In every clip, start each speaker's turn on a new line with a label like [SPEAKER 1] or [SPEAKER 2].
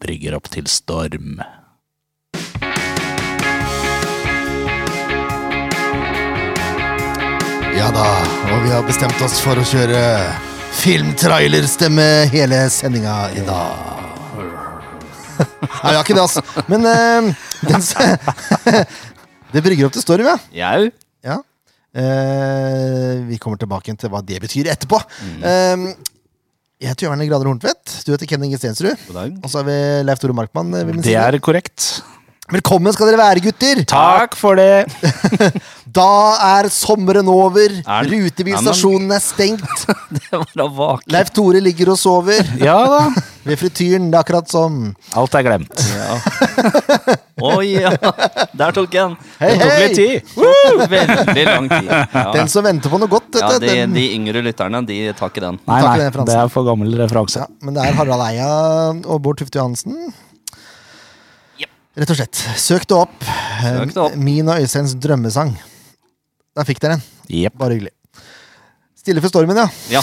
[SPEAKER 1] brygger opp til storm.
[SPEAKER 2] Ja da, og vi har bestemt oss for å kjøre filmtrailerstemme hele sendinga i dag. Nei, vi har ikke det, altså. Men eh, den, s- Det brygger opp til storm, ja.
[SPEAKER 1] Jau.
[SPEAKER 2] ja. Eh, vi kommer tilbake igjen til hva det betyr etterpå.
[SPEAKER 1] Mm.
[SPEAKER 2] Eh, jeg heter Jørgen Grader Horntvedt. Du heter Kenning Stensrud.
[SPEAKER 3] God dag.
[SPEAKER 2] Og så er vi Leif Tore Markmann. eh, ved min
[SPEAKER 1] Det
[SPEAKER 2] side.
[SPEAKER 1] er korrekt.
[SPEAKER 2] Velkommen skal dere være, gutter!
[SPEAKER 1] Takk for det.
[SPEAKER 2] Da er sommeren over.
[SPEAKER 3] Er-
[SPEAKER 2] Rutebilstasjonen er stengt.
[SPEAKER 3] Det var da vaken.
[SPEAKER 2] Leif Tore ligger og sover.
[SPEAKER 1] Ja da.
[SPEAKER 2] Ved frityren, det er akkurat som
[SPEAKER 1] Alt er glemt.
[SPEAKER 3] Ja. Å ja! Der tok jeg den.
[SPEAKER 2] Hei,
[SPEAKER 1] Det tok
[SPEAKER 2] hei!
[SPEAKER 1] litt tid.
[SPEAKER 3] Woo! Veldig lang tid. Ja,
[SPEAKER 2] Den som venter på noe godt, vet
[SPEAKER 3] ja
[SPEAKER 2] du,
[SPEAKER 3] de,
[SPEAKER 2] den-
[SPEAKER 3] de yngre lytterne, de tar ikke den.
[SPEAKER 1] Nei,
[SPEAKER 2] Takk for den
[SPEAKER 1] nei,
[SPEAKER 2] referansen.
[SPEAKER 1] det er for gammel referanse.
[SPEAKER 2] Ja, men det er Harald Eia og Bård Tufte Johansen. Rett og slett. Søk det opp.
[SPEAKER 3] Søk det opp.
[SPEAKER 2] Min og Øysteins drømmesang. Der fikk dere den.
[SPEAKER 1] Jepp.
[SPEAKER 2] Bare hyggelig. Stille for stormen, ja.
[SPEAKER 3] Ja,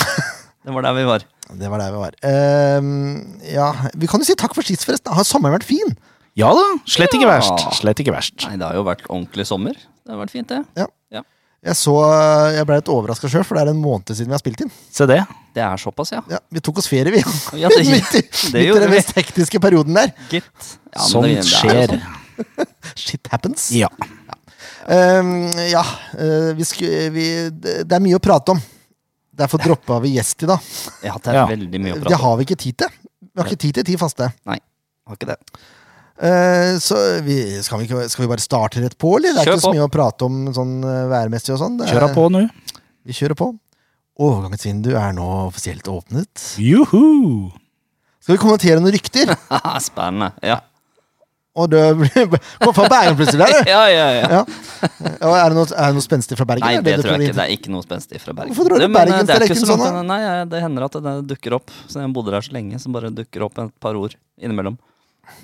[SPEAKER 3] det var der vi var.
[SPEAKER 2] Det var der vi var. Ehm, ja, Vi kan jo si takk for sist, forresten. Har sommeren vært fin?
[SPEAKER 1] Ja da, slett ikke
[SPEAKER 3] Ja.
[SPEAKER 1] verst. Slett ikke verst.
[SPEAKER 3] Nei, det har jo vært ordentlig sommer. Det har vært fint, det.
[SPEAKER 2] Ja.
[SPEAKER 3] Ja.
[SPEAKER 2] Jeg så, jeg ble litt overraska sjøl, for det er en måned siden vi har spilt inn.
[SPEAKER 1] Se det.
[SPEAKER 3] Det er såpass, ja.
[SPEAKER 2] Ja, vi tok oss ferie, vi.
[SPEAKER 3] Ja, det-
[SPEAKER 2] midt i,
[SPEAKER 3] det
[SPEAKER 2] midt i
[SPEAKER 3] gjorde
[SPEAKER 2] den
[SPEAKER 3] vi.
[SPEAKER 2] mest hektiske perioden der.
[SPEAKER 3] Gitt. Ja, men det-
[SPEAKER 1] Sånt
[SPEAKER 3] det er
[SPEAKER 1] skjer.
[SPEAKER 3] jo sånn.
[SPEAKER 2] Shit happens.
[SPEAKER 1] Ja.
[SPEAKER 2] Ehm, ja, eh, vi sku, vi, det det er mye å prate om. Derfor droppa vi gjest i dag.
[SPEAKER 3] Ja, det er
[SPEAKER 1] Ja.
[SPEAKER 3] veldig mye å
[SPEAKER 2] Det
[SPEAKER 3] prate om.
[SPEAKER 2] har vi ikke tid til. Vi har ikke tid til ti faste.
[SPEAKER 3] Nei, har ikke det.
[SPEAKER 2] Eh, så vi, skal, vi ikke, skal vi bare starte rett på, eller? Det er
[SPEAKER 3] Kjør
[SPEAKER 2] ikke så
[SPEAKER 3] på.
[SPEAKER 2] mye å prate om sånn eh, værmessig og sånn. Det er-
[SPEAKER 1] Kjøra på nå.
[SPEAKER 2] Vi kjører på. Overgangens vindu er nå offisielt åpnet.
[SPEAKER 1] Juhu!
[SPEAKER 2] Skal vi kommentere noen rykter?
[SPEAKER 3] Haha, Spennende. Ja.
[SPEAKER 2] Og det blir- Kom fra Bergen plutselig, er det?
[SPEAKER 3] ja, ja, ja.
[SPEAKER 2] Ja. Og er det noe, er det noe spenstig fra Bergen?
[SPEAKER 3] Nei,
[SPEAKER 2] er
[SPEAKER 3] det
[SPEAKER 2] du
[SPEAKER 3] tror jeg
[SPEAKER 2] vi-
[SPEAKER 3] ikke. Det er ikke noe spenstig fra Bergen.
[SPEAKER 2] Hvorfor drar du
[SPEAKER 3] Det- men, eh,
[SPEAKER 2] Bergen
[SPEAKER 3] det er
[SPEAKER 2] til
[SPEAKER 3] ikke
[SPEAKER 2] Rekken
[SPEAKER 3] så langt,
[SPEAKER 2] sånn, da?
[SPEAKER 3] Nei, jeg- det hender at det dukker opp. Så jeg bodde der så lenge, så bare dukker opp et par ord innimellom.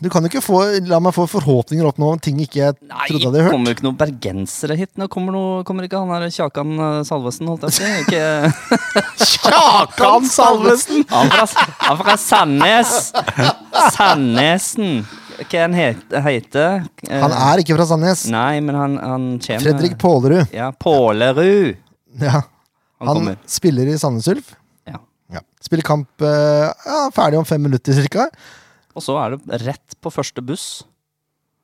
[SPEAKER 2] Du kan jo ikke få, la meg få forhåpninger opp nå om ting ikke jeg
[SPEAKER 3] Nei,
[SPEAKER 2] trodde jeg hadde hørt.
[SPEAKER 3] kommer jo ikke noen bergensere hit. Nå kommer, noe, kommer ikke han her Kjakan eh, Salvesen, holdt jeg på å si. Ikke,
[SPEAKER 1] Kjakan Salvesen!
[SPEAKER 3] han fra, han fra Sandnes. Sandnesen. Hva han het- heter eh,
[SPEAKER 2] Han er ikke fra Sandnes.
[SPEAKER 3] Nei, men han, han kommer
[SPEAKER 2] Fredrik Pålerud.
[SPEAKER 3] Ja, Pålerud.
[SPEAKER 2] Ja.
[SPEAKER 3] Han
[SPEAKER 2] Han
[SPEAKER 3] kommer.
[SPEAKER 2] spiller i Sandnes Ulf.
[SPEAKER 3] Ja.
[SPEAKER 2] Ja. Spiller kamp eh, ja, ferdig om fem minutter cirka.
[SPEAKER 3] Og så er det rett på første buss.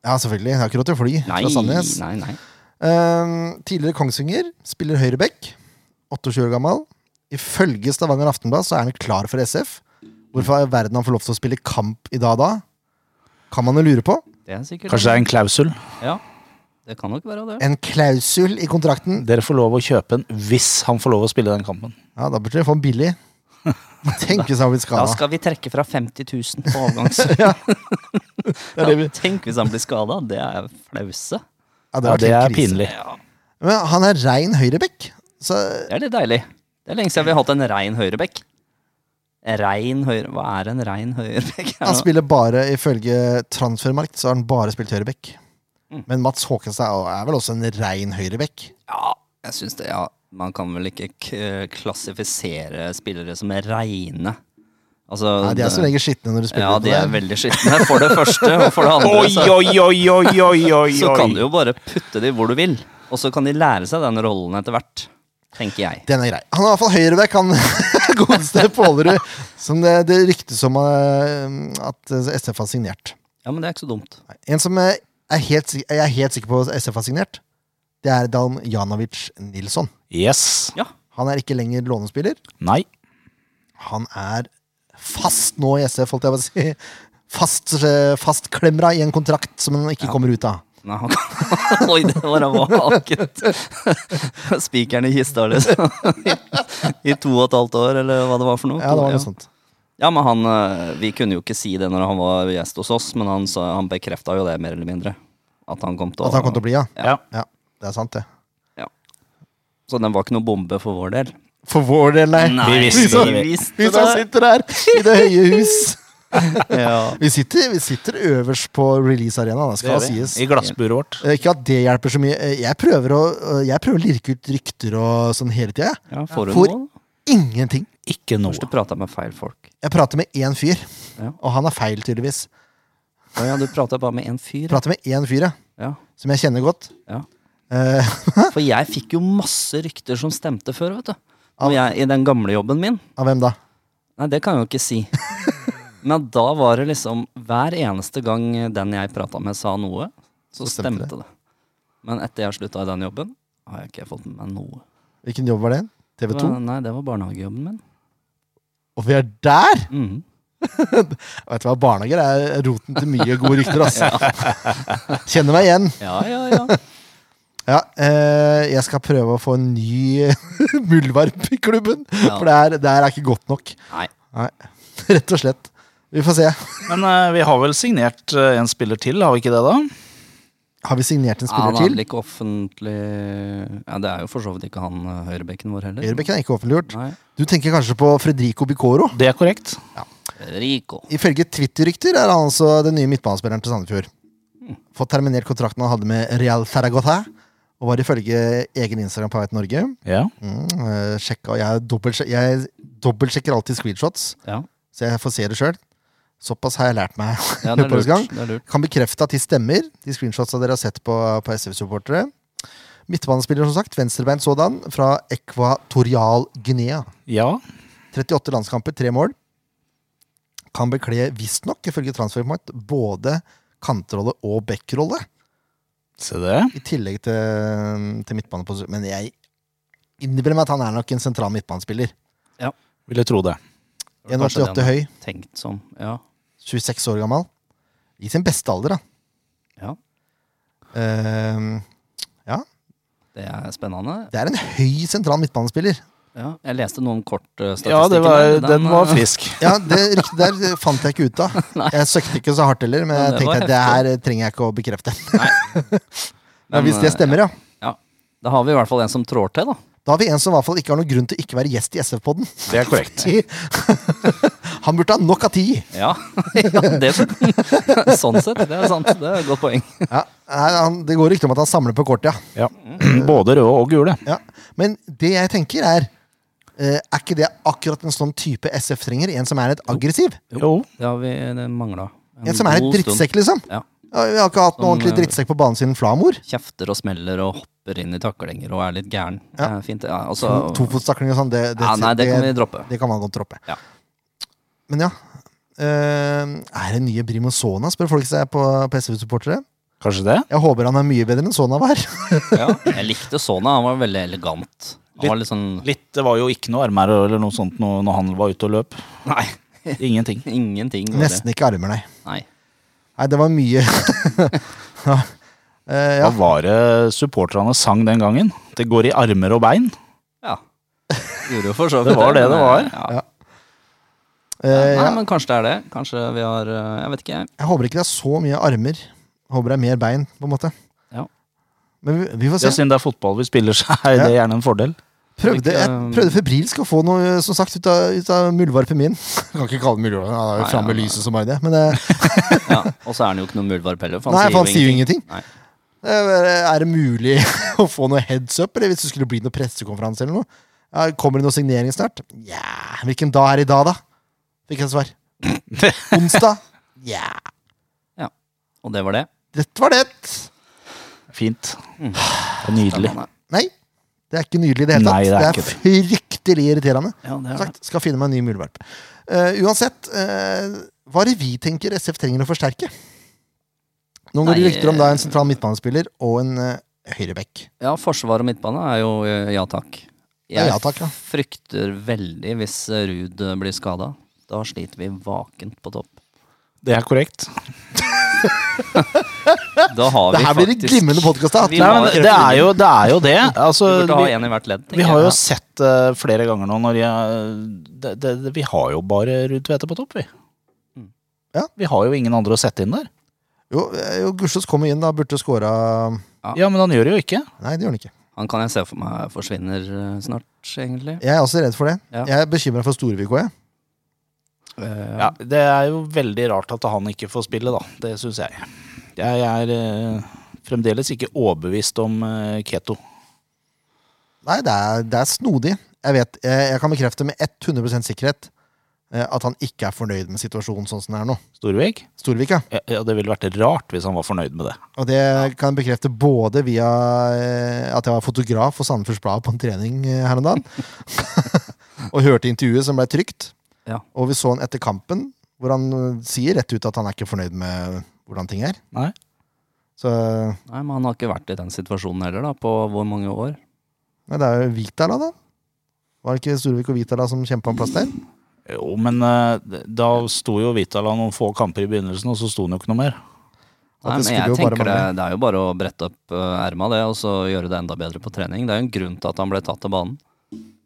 [SPEAKER 2] Ja, selvfølgelig. Jeg har ikke råd til å fly
[SPEAKER 3] Nei,
[SPEAKER 2] fra Sandnes.
[SPEAKER 3] nei, nei.
[SPEAKER 2] Eh, tidligere Kongsvinger. Spiller høyreback. 28 år gammel. Ifølge Stavanger Aftenblad så er han klar for SF. Hvorfor i all verden han får lov til å spille kamp i dag da? Kan man jo lure på.
[SPEAKER 3] Det er sikkert
[SPEAKER 1] Kanskje det er en klausul?
[SPEAKER 3] Ja, det kan nok være det.
[SPEAKER 2] En klausul i kontrakten
[SPEAKER 1] Dere får lov å kjøpe den hvis han får lov å spille den kampen.
[SPEAKER 2] Ja, da burde dere få en billig. Tenk hvis han har blitt
[SPEAKER 3] Da
[SPEAKER 2] skada.
[SPEAKER 3] skal vi trekke fra 50 000 på avgangs.
[SPEAKER 2] er det vi-
[SPEAKER 3] Ja, tenk hvis han blir skada. Det er flause.
[SPEAKER 2] Ja,
[SPEAKER 1] Ja,
[SPEAKER 2] hadde
[SPEAKER 1] det
[SPEAKER 2] vært
[SPEAKER 1] er
[SPEAKER 2] helt krise.
[SPEAKER 1] pinlig.
[SPEAKER 3] Ja,
[SPEAKER 2] Men han er rein høyrebekk. Så
[SPEAKER 3] det er litt deilig. Det er lenge siden vi har hatt en rein høyrebekk. Rein høyre... Hva er en rein høyrebekk? Er
[SPEAKER 2] han
[SPEAKER 3] det noe-
[SPEAKER 2] spiller bare, ifølge Transfermarkt, så har han bare spilt høyrebekk.
[SPEAKER 3] Mm.
[SPEAKER 2] Men Mats Håkenstad er- er vel også en rein høyrebekk.
[SPEAKER 3] Ja, jeg syns det. Ja, man kan vel ikke k klassifisere spillere som er reine. Altså
[SPEAKER 2] Nei, de er
[SPEAKER 3] det-
[SPEAKER 2] som regel skitne når du spiller.
[SPEAKER 3] Ja,
[SPEAKER 2] på
[SPEAKER 3] de er
[SPEAKER 2] det.
[SPEAKER 3] veldig skitne. For det første, og for det andre
[SPEAKER 1] Oi,
[SPEAKER 3] så,
[SPEAKER 1] oi, oi, oi, oi, oi,
[SPEAKER 3] så kan
[SPEAKER 1] oi.
[SPEAKER 3] du jo bare putte de hvor du vil. Og så kan de lære seg den rollen etter hvert, tenker jeg.
[SPEAKER 2] Den er grei. Han er i hvert fall høyrebekk, han godeste Pålerud. Som det, det ryktes om eh, at SF har signert.
[SPEAKER 3] Ja, men det er ikke så dumt.
[SPEAKER 2] En som eh, er helt, sik- jeg er helt sikker på at SF har signert, det er Dan Janovic Nilsson.
[SPEAKER 1] Yes.
[SPEAKER 3] Ja,
[SPEAKER 2] Han er ikke lenger lånespiller.
[SPEAKER 1] Nei.
[SPEAKER 2] Han er fast nå i SF, holdt jeg på å si. Fast, eh, fast klemra i en kontrakt som han ikke kommer ut av.
[SPEAKER 3] Nei, han kan... Oi, det var da vaket. Spikeren i kista, liksom. I to og et halvt år, eller hva det var for noe.
[SPEAKER 2] Ja, det var noe sånt.
[SPEAKER 3] Ja, men han eh, Vi kunne jo ikke si det når han var gjest hos oss, men han, sa- han bekrefta jo det, mer eller mindre. At han kom til å
[SPEAKER 2] At han kom til å bli, ja.
[SPEAKER 1] Ja.
[SPEAKER 2] ja. Det er sant, det.
[SPEAKER 3] Så den var ikke noe bombe for vår del.
[SPEAKER 2] For vår del, nei.
[SPEAKER 3] Nei,
[SPEAKER 1] visste
[SPEAKER 2] vi som-
[SPEAKER 1] det,
[SPEAKER 3] vi visste
[SPEAKER 2] Vi som
[SPEAKER 3] det.
[SPEAKER 2] sitter her i det høye hus.
[SPEAKER 3] Ja.
[SPEAKER 2] Vi sitter, vi sitter øverst på Release Arena, det skal
[SPEAKER 1] Det gjør vi.
[SPEAKER 2] sies.
[SPEAKER 1] I glassburet vårt.
[SPEAKER 2] Eh, Ikke at det hjelper så mye. Eh, Jeg prøver å, eh, jeg prøver å lirke ut rykter og sånn hele tida.
[SPEAKER 3] Ja, får hun
[SPEAKER 2] For-
[SPEAKER 3] noe?
[SPEAKER 2] Ingenting.
[SPEAKER 1] Ikke noe.
[SPEAKER 3] Først du prata med feil folk.
[SPEAKER 2] Jeg prater med én fyr,
[SPEAKER 3] Ja.
[SPEAKER 2] og han er feil, tydeligvis.
[SPEAKER 3] Å ja, du prata bare med én fyr.
[SPEAKER 2] Prater med én fyr, ja.
[SPEAKER 3] Ja,
[SPEAKER 2] Som jeg kjenner godt.
[SPEAKER 3] ja.
[SPEAKER 2] Eh,
[SPEAKER 3] For jeg fikk jo masse rykter som stemte før, vet du.
[SPEAKER 2] Av-
[SPEAKER 3] Når jeg, I den gamle jobben min.
[SPEAKER 2] av hvem da?
[SPEAKER 3] Nei, det kan jeg jo ikke si. Men da var det liksom Hver eneste gang den jeg prata med, sa noe, så,
[SPEAKER 2] Så stemte
[SPEAKER 3] stemte det. Men etter jeg slutta i den jobben, har jeg ikke fått med meg noe.
[SPEAKER 2] Hvilken jobb var det? TV 2?
[SPEAKER 3] Men, Nei, det var barnehagejobben min.
[SPEAKER 2] Og vi er der!
[SPEAKER 3] Mhm.
[SPEAKER 2] Vet du hva, Barnehager er roten til mye gode rykter. ass. Kjenner meg igjen.
[SPEAKER 3] Ja, ja, ja.
[SPEAKER 2] Ja, eh, Jeg skal prøve å få en ny muldvarp i klubben.
[SPEAKER 3] Ja.
[SPEAKER 2] For det her, det her er ikke godt nok.
[SPEAKER 3] Nei.
[SPEAKER 2] Nei, Rett og slett. Vi får se.
[SPEAKER 1] Men eh, vi har vel signert eh, en spiller til, har vi ikke det, da?
[SPEAKER 2] Har vi signert en
[SPEAKER 3] Ja, han
[SPEAKER 2] spiller
[SPEAKER 3] er
[SPEAKER 2] til?
[SPEAKER 3] vel ikke offentlig Ja, Det er jo for så vidt ikke han eh, høyrebekken vår heller.
[SPEAKER 2] Ørebekk er ikke offentliggjort.
[SPEAKER 3] Nei.
[SPEAKER 2] Du tenker kanskje på Fredrico Bicoro?
[SPEAKER 1] Det er korrekt.
[SPEAKER 3] Rico.
[SPEAKER 2] Ifølge Twitter-rykter er han altså den nye midtbanespilleren til Sandefjord. Fått terminert kontrakten han hadde med Real Zaragoza, og var ifølge egen Instagram på vei til Norge.
[SPEAKER 1] Ja.
[SPEAKER 2] Mm, eh, sjekka, jeg dobbeltsjek- jeg dobbeltsjekker alltid screenshots,
[SPEAKER 3] Ja,
[SPEAKER 2] så jeg får se det sjøl. Såpass har jeg lært meg.
[SPEAKER 3] ja det, er
[SPEAKER 2] Løpens gang.
[SPEAKER 3] lurt. det er lurt.
[SPEAKER 2] Kan bekrefte at de stemmer, de screenshotsa dere har sett på, på SF-supportere. Midtbanespiller, som sagt. Venstrebeint sådan, fra Equatorial Guinea.
[SPEAKER 1] ja.
[SPEAKER 2] 38 landskamper, tre mål. Kan bekle, visstnok, ifølge Transfermarkt, både kantrolle og backrolle.
[SPEAKER 1] Se det.
[SPEAKER 2] I tillegg til, til midtbaneposisjon. Men jeg innbiller meg at han er nok en sentral midtbanespiller.
[SPEAKER 1] Vil jeg tro det.
[SPEAKER 3] Det var kanskje det
[SPEAKER 2] 1,88 høy,
[SPEAKER 3] han Tenkt som, ja.
[SPEAKER 2] 26 år gammel. I sin beste alder, da.
[SPEAKER 3] ja.
[SPEAKER 2] Ehm,
[SPEAKER 3] Det er spennende.
[SPEAKER 2] det er en høy sentral midtbanespiller.
[SPEAKER 3] Ja, jeg leste eh, noe om kortstatistikken.
[SPEAKER 1] Ja, det var, den var
[SPEAKER 3] eh,
[SPEAKER 1] frisk.
[SPEAKER 2] Ja, det riktig der fant jeg ikke ut av. Jeg søkte ikke så hardt heller, men
[SPEAKER 3] Men
[SPEAKER 2] jeg
[SPEAKER 3] det var
[SPEAKER 2] tenkte at det her trenger jeg ikke å bekrefte.
[SPEAKER 3] Men,
[SPEAKER 2] Men hvis det
[SPEAKER 3] eh,
[SPEAKER 2] stemmer, ja.
[SPEAKER 3] Ja, Da har vi i hvert fall en som trår til, da.
[SPEAKER 2] Da har vi en som i hvert fall ikke har noen grunn til å ikke være gjest i SF-podden.
[SPEAKER 1] Det er korrekt.
[SPEAKER 2] Han burde ha nok av tid!
[SPEAKER 3] Ja, ja det Sånn sett, det er sant. Det er et godt poeng.
[SPEAKER 2] Ja, nei, han, det går rykter om at han samler på kort, ja.
[SPEAKER 1] Ja. Både røde og gule.
[SPEAKER 2] ja. Men det jeg tenker, er eh, Er ikke det akkurat en sånn type SF trenger? En som er litt aggressiv?
[SPEAKER 1] Jo.
[SPEAKER 3] Det har vi mangla.
[SPEAKER 2] En som er en drittsekk, liksom?
[SPEAKER 3] Ja.
[SPEAKER 2] Ja, vi har ikke hatt noen
[SPEAKER 3] Som,
[SPEAKER 2] ordentlig
[SPEAKER 3] eh,
[SPEAKER 2] drittsekk på banen siden Flamor.
[SPEAKER 3] Kjefter og smeller og hopper inn i taklinger og er litt gæren. Det
[SPEAKER 2] Ja.
[SPEAKER 3] er fint. Ja, altså,
[SPEAKER 2] Tofotstakling og sånn, det, det,
[SPEAKER 3] ja, nei, det kan vi droppe.
[SPEAKER 2] det kan man godt droppe.
[SPEAKER 3] Ja.
[SPEAKER 2] Men ja. eh, er det nye Brimo Sona, spør folk seg på, på SV-supportere.
[SPEAKER 1] Kanskje det?
[SPEAKER 2] Jeg håper han er mye bedre enn Sona var.
[SPEAKER 3] Ja, jeg likte Sona. Han var veldig elegant. Han var litt sånn
[SPEAKER 1] Litt, Det var jo ikke noe armer eller noe sånt når, når han var ute og løp.
[SPEAKER 3] Nei,
[SPEAKER 1] Ingenting.
[SPEAKER 3] ingenting. var det.
[SPEAKER 2] Nesten ikke armer, nei.
[SPEAKER 3] Nei.
[SPEAKER 2] Nei, det var mye. ja. Eh, ja.
[SPEAKER 1] Hva var det supporterne sang den gangen? Det går i armer og bein.
[SPEAKER 3] Ja. Gjorde jo for så vidt
[SPEAKER 1] Det var det
[SPEAKER 3] men,
[SPEAKER 1] det var.
[SPEAKER 3] Ja.
[SPEAKER 2] Eh,
[SPEAKER 3] Nei,
[SPEAKER 2] ja.
[SPEAKER 3] men kanskje det er det. Kanskje vi har eh, Jeg vet ikke, jeg.
[SPEAKER 2] Jeg håper ikke det er så mye armer. Jeg håper det er mer bein, på en måte.
[SPEAKER 3] Ja.
[SPEAKER 2] Men vi, vi får
[SPEAKER 1] Ja,
[SPEAKER 2] se.
[SPEAKER 1] siden det er fotball vi spiller, så er det gjerne en fordel.
[SPEAKER 2] Prøvde, jeg prøvde febrilsk å få noe som sagt, ut av, ut av muldvarpen min. Jeg kan ikke kalle det muldvarpen, han er jo
[SPEAKER 3] Nei,
[SPEAKER 2] framme
[SPEAKER 3] ja,
[SPEAKER 2] i lyset som bare det. Men eh,
[SPEAKER 3] Ja. Og så er han jo ikke noen muldvarp heller. For han
[SPEAKER 2] nei,
[SPEAKER 3] sier
[SPEAKER 2] for han sier jo ingenting.
[SPEAKER 3] Nei.
[SPEAKER 2] Eh, Er det mulig å få noe heads up, eller hvis det skulle bli noe pressekonferanse eller noe? Ja, Kommer det noe signering snart? Ja, hvilken dag er det i dag, da? Fikk jeg svar. Onsdag? Ja.
[SPEAKER 3] Og det var det.
[SPEAKER 2] Dette var det.
[SPEAKER 1] Fint. Det er nydelig.
[SPEAKER 3] Spennende.
[SPEAKER 2] Nei, det er ikke nydelig i det hele
[SPEAKER 1] Nei,
[SPEAKER 2] tatt.
[SPEAKER 1] det er
[SPEAKER 2] det er, fryktelig irriterende.
[SPEAKER 3] Ja, det
[SPEAKER 2] Som
[SPEAKER 3] er det.
[SPEAKER 2] Sagt, skal finne meg en ny muldvarp. Eh, uansett, eh, hva er det vi tenker SF trenger å forsterke? Nå går det
[SPEAKER 3] Nei,
[SPEAKER 2] rykter om da en sentral midtbanespiller og en uh, høyreback.
[SPEAKER 3] Ja, forsvar og midtbane er jo eh, ja takk.
[SPEAKER 2] Ja, ja takk, ja.
[SPEAKER 3] frykter veldig hvis eh, Ruud eh, blir skada. Da sliter vi vakent på topp.
[SPEAKER 1] Det er korrekt.
[SPEAKER 3] Da har
[SPEAKER 2] Det
[SPEAKER 3] vi
[SPEAKER 2] her blir det
[SPEAKER 3] faktisk-
[SPEAKER 2] glimmende podkast.
[SPEAKER 3] Vi
[SPEAKER 1] Nei,
[SPEAKER 3] må
[SPEAKER 1] men
[SPEAKER 3] ha
[SPEAKER 1] det er jo det. Er jo det.
[SPEAKER 3] Vi
[SPEAKER 1] Altså,
[SPEAKER 3] burde ha
[SPEAKER 1] vi,
[SPEAKER 3] en i hvert ledd. tenker
[SPEAKER 1] vi har
[SPEAKER 3] jeg.
[SPEAKER 1] jo sett det flere ganger nå når jeg det, det, det, Vi har jo bare Ruud Tvete på topp, vi.
[SPEAKER 3] Mm.
[SPEAKER 2] Ja.
[SPEAKER 1] Vi har jo ingen andre å sette inn der.
[SPEAKER 2] Jo, eh, jo Gussius kommer inn, da burde skåra
[SPEAKER 3] Ja.
[SPEAKER 1] Ja, men han gjør det jo ikke.
[SPEAKER 2] Nei, det gjør han ikke.
[SPEAKER 3] Han kan jeg se for meg forsvinner eh, snart, egentlig.
[SPEAKER 2] Jeg er også redd for det.
[SPEAKER 3] Ja.
[SPEAKER 2] Jeg er bekymra for Storvik òg, jeg.
[SPEAKER 3] Eh,
[SPEAKER 1] Ja, det er jo veldig rart at han ikke får spille, da. Det syns jeg. Jeg er eh, fremdeles ikke overbevist om eh, Keto.
[SPEAKER 2] Nei, det er, det er snodig. Jeg vet, jeg, jeg kan bekrefte med 100 sikkerhet. eh, at han ikke er fornøyd med situasjonen sånn som den er nå.
[SPEAKER 1] Storvik?
[SPEAKER 2] Storvik, ja.
[SPEAKER 1] Ja, ja, det ville vært rart hvis han var fornøyd med det.
[SPEAKER 2] Og det kan jeg bekrefte både via eh, at jeg var fotograf for Sandefjords Blad på en trening eh, her om dagen, og hørte intervjuet som ble trygt.
[SPEAKER 3] Ja.
[SPEAKER 2] Og vi så han etter kampen, hvor han eh, sier rett ut at han er ikke fornøyd med hvordan ting er.
[SPEAKER 1] Nei.
[SPEAKER 2] Så
[SPEAKER 3] Nei, men han har ikke vært i den situasjonen heller, da, på hvor mange år?
[SPEAKER 2] nei, det er jo Vitala, da. Var det ikke Storvik og Vitala som kjempa om plass der?
[SPEAKER 1] Jo, men eh, da sto jo Vitala noen få kamper i begynnelsen, og så sto han jo ikke noe mer.
[SPEAKER 3] Nei,
[SPEAKER 2] At det
[SPEAKER 3] men
[SPEAKER 2] skulle
[SPEAKER 3] jeg
[SPEAKER 2] jo bare
[SPEAKER 3] tenker det,
[SPEAKER 2] mangle.
[SPEAKER 3] det er jo bare å brette opp eh, erma det, og så gjøre det enda bedre på trening. Det er jo en grunn til at han ble tatt av banen.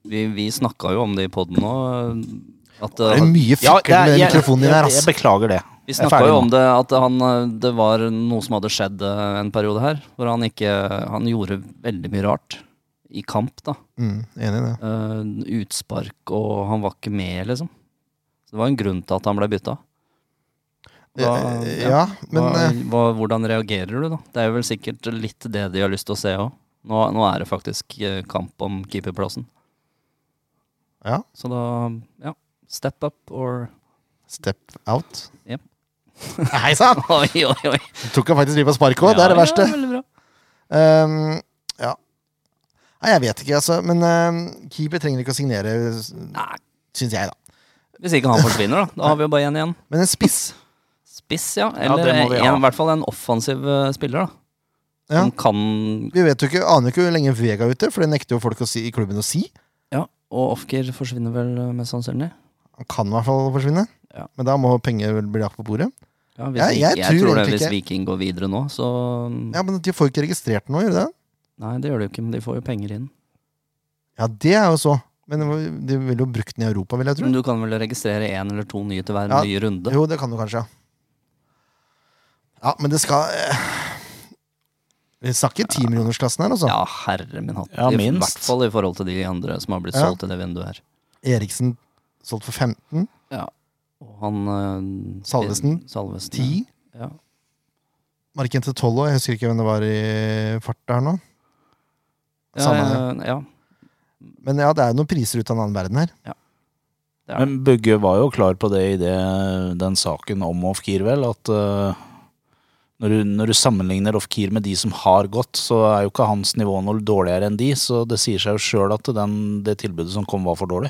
[SPEAKER 3] Vi, vi snakka jo om det i poden nå. eh, At,
[SPEAKER 2] Det er
[SPEAKER 3] eh,
[SPEAKER 2] mye fikkel med den mikrofonen din her,
[SPEAKER 1] jeg, jeg
[SPEAKER 2] ass.
[SPEAKER 1] beklager det.
[SPEAKER 3] vi
[SPEAKER 1] Jeg er
[SPEAKER 3] snakka
[SPEAKER 1] ferdig
[SPEAKER 3] jo
[SPEAKER 1] nå.
[SPEAKER 3] om det at han, eh, det var noe som hadde skjedd eh, en periode her, hvor han ikke Han gjorde veldig mye rart. I kamp, da.
[SPEAKER 2] Mm, enig i det.
[SPEAKER 3] Eh, utspark, og han var ikke med, liksom. Så det var en grunn til at han ble bytta. Da-
[SPEAKER 2] Eh,
[SPEAKER 3] ja.
[SPEAKER 2] Ja, men
[SPEAKER 3] hva,
[SPEAKER 2] eh,
[SPEAKER 3] hva, hvordan reagerer du, da? Det er jo vel sikkert litt det de har lyst til å se òg. Nå, nå er det faktisk eh, kamp om keeperplassen.
[SPEAKER 2] Ja.
[SPEAKER 3] Så da, ja. Step up or
[SPEAKER 2] Step out.
[SPEAKER 3] Jep.
[SPEAKER 2] Hei sann!
[SPEAKER 3] Oi, oi, oi!
[SPEAKER 2] Tok han faktisk livet av sparket òg, det er det verste.
[SPEAKER 3] Ja, veldig bra.
[SPEAKER 2] Ehm, ja. Nei, jeg vet ikke, altså. Men ehm, keeper trenger ikke å signere,
[SPEAKER 3] Nei,
[SPEAKER 2] syns jeg, da.
[SPEAKER 3] hvis ikke han forsvinner, da. Da har vi jo bare én igjen.
[SPEAKER 2] Men en spiss
[SPEAKER 3] Spiss, ja.
[SPEAKER 1] Ja, det
[SPEAKER 3] Eller
[SPEAKER 1] må vi ha.
[SPEAKER 3] en, i hvert fall en offensiv eh, spiller, da.
[SPEAKER 2] ja.
[SPEAKER 3] Som kan
[SPEAKER 2] Vi vet jo ikke, aner jo ikke hvor lenge Vega er ute, for det nekter jo folk å si, i klubben å si.
[SPEAKER 3] Ja, og Ofker forsvinner vel eh, mest sannsynlig.
[SPEAKER 2] Han kan i hvert fall forsvinne.
[SPEAKER 3] Ja.
[SPEAKER 2] Men da må penger vel bli lagt på bordet.
[SPEAKER 3] Ja, hvis,
[SPEAKER 2] Jeg-
[SPEAKER 3] Vik-
[SPEAKER 2] jeg
[SPEAKER 3] jeg,
[SPEAKER 2] tror
[SPEAKER 3] tror det,
[SPEAKER 2] egentlig
[SPEAKER 3] hvis
[SPEAKER 2] ikke-
[SPEAKER 3] Viking går videre nå, så
[SPEAKER 2] Ja, Men de får ikke registrert noe, gjør de det?
[SPEAKER 3] Nei, det gjør det jo ikke, men de får jo penger inn.
[SPEAKER 2] Ja, det er jo så. Men de ville jo brukt den i Europa, vil jeg tro.
[SPEAKER 3] Men du kan vel registrere én eller to nye til hver
[SPEAKER 2] Ja,
[SPEAKER 3] nye runde?
[SPEAKER 2] Jo, det kan du kanskje, ja. Ja, men det skal eh, Vi snakker timillionersklassen her, altså.
[SPEAKER 3] Ja, herre min hatt.
[SPEAKER 1] Ja,
[SPEAKER 3] I
[SPEAKER 1] minst.
[SPEAKER 3] hvert fall i forhold til de andre som har blitt
[SPEAKER 2] Ja.
[SPEAKER 3] solgt i det vinduet her.
[SPEAKER 2] Eriksen solgt for 15.
[SPEAKER 3] Og han eh,
[SPEAKER 2] Salvesen.
[SPEAKER 3] Salvesen,
[SPEAKER 2] 10.
[SPEAKER 3] Ja. Ja.
[SPEAKER 2] Marken til tolv år. Jeg husker ikke hvem det var i farta her nå.
[SPEAKER 3] Ja,
[SPEAKER 1] Eh.
[SPEAKER 2] Samme
[SPEAKER 3] ja, ja,
[SPEAKER 2] Men ja, det er jo noen priser ut av en annen verden her.
[SPEAKER 3] det er det.
[SPEAKER 1] Men Bugge var jo klar på det i det, den saken om Ofkir, vel, at eh, når, du, når du sammenligner Ofkir med de som har gått, så er jo ikke hans nivå noe dårligere enn de, så det sier seg jo sjøl at den, det tilbudet som kom, var for dårlig.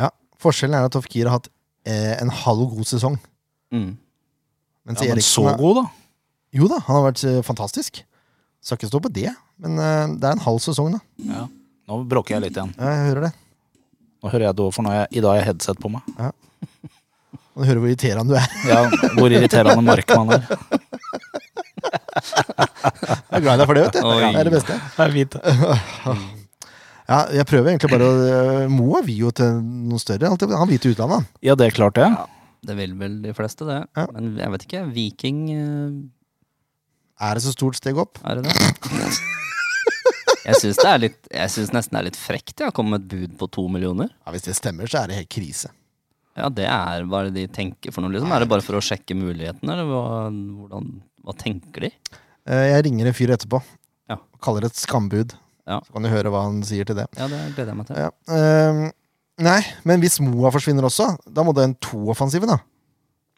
[SPEAKER 2] Ja, Forskjellen er at Tofkir har hatt eh, en halv god sesong.
[SPEAKER 3] Mm.
[SPEAKER 2] Mens
[SPEAKER 1] Ja, men
[SPEAKER 2] Eriksen
[SPEAKER 1] så
[SPEAKER 2] er-
[SPEAKER 1] god, da?
[SPEAKER 2] Jo da, han har vært eh, fantastisk. Skal ikke stå på det, men eh, det er en halv sesong, da.
[SPEAKER 1] Nå bråker jeg litt igjen.
[SPEAKER 2] Ja, jeg hører det.
[SPEAKER 1] Nå hører jeg det over, for nå har jeg, i dag har jeg headset på meg.
[SPEAKER 2] Og du hører hvor irriterende du er.
[SPEAKER 1] Ja, hvor irriterende markmann er.
[SPEAKER 2] Jeg er glad i deg for det, vet du.
[SPEAKER 3] Oi.
[SPEAKER 2] Det er det beste.
[SPEAKER 1] Det er fint.
[SPEAKER 2] Ja, jeg prøver egentlig bare å eh, Mo er vi jo til noe større. alltid. Han vil til utlandet, han.
[SPEAKER 1] Ja, det er klart, det.
[SPEAKER 3] Det vil vel de fleste, det.
[SPEAKER 2] Ja.
[SPEAKER 3] Men jeg vet ikke. Viking, eh,
[SPEAKER 2] Er det så stort steg opp?
[SPEAKER 3] er det det? Jeg syns det er litt Jeg synes nesten det er litt frekt ja, å komme med et bud på to millioner.
[SPEAKER 2] Ja, Hvis det stemmer, så er det helt krise.
[SPEAKER 3] Ja, det er hva de tenker for noe, liksom. Er det bare for å sjekke mulighetene, eller hva, hvordan, hva tenker de?
[SPEAKER 2] Eh, Jeg ringer en fyr etterpå.
[SPEAKER 3] Ja.
[SPEAKER 2] Og Kaller det et skambud.
[SPEAKER 3] Ja.
[SPEAKER 2] Så kan du høre hva han sier til det.
[SPEAKER 3] Ja, det gleder jeg meg til.
[SPEAKER 2] Ja. ehm, nei, men hvis Moa forsvinner også, da må det en to-offensive, da.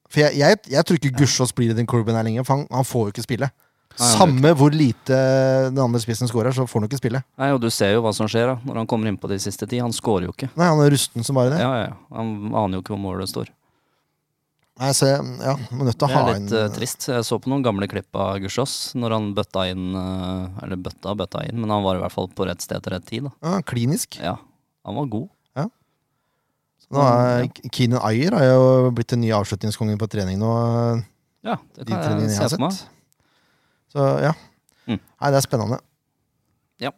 [SPEAKER 2] For jeg, jeg, jeg tror ikke Gussiås blir i den klubben her lenger, for han, han får jo ikke spille.
[SPEAKER 3] Nei, han
[SPEAKER 2] Samme hvor lite den andre spissen scorer, så får han jo ikke spille.
[SPEAKER 3] Nei, og du ser jo hva som skjer da, når han kommer innpå de siste ti. Han scorer jo ikke.
[SPEAKER 2] Nei, han er rusten som bare det.
[SPEAKER 3] Ja, ja, ja. Han aner jo ikke hvor målet står.
[SPEAKER 2] Nei, så ja, man er nødt til
[SPEAKER 3] Det
[SPEAKER 2] å ha
[SPEAKER 3] er litt eh,
[SPEAKER 2] en
[SPEAKER 3] trist. Jeg så på noen gamle klipp av Gussiås når han bøtta inn eh, Eller bøtta og bøtta inn, men han var i hvert fall på rett sted til rett tid, da.
[SPEAKER 2] ja, klinisk.
[SPEAKER 3] Ja. Han var god.
[SPEAKER 2] Ja.
[SPEAKER 3] Så,
[SPEAKER 2] Nå er
[SPEAKER 3] ja.
[SPEAKER 2] Keenan Ayer har jo blitt den nye avslutningskongen på trening nå. eh,
[SPEAKER 3] ja, det
[SPEAKER 2] De
[SPEAKER 3] kan jeg
[SPEAKER 2] treningene jeg
[SPEAKER 3] se
[SPEAKER 2] har
[SPEAKER 3] på meg.
[SPEAKER 2] sett. Så ja.
[SPEAKER 3] Mm.
[SPEAKER 2] Nei, det er spennende.
[SPEAKER 3] Ja.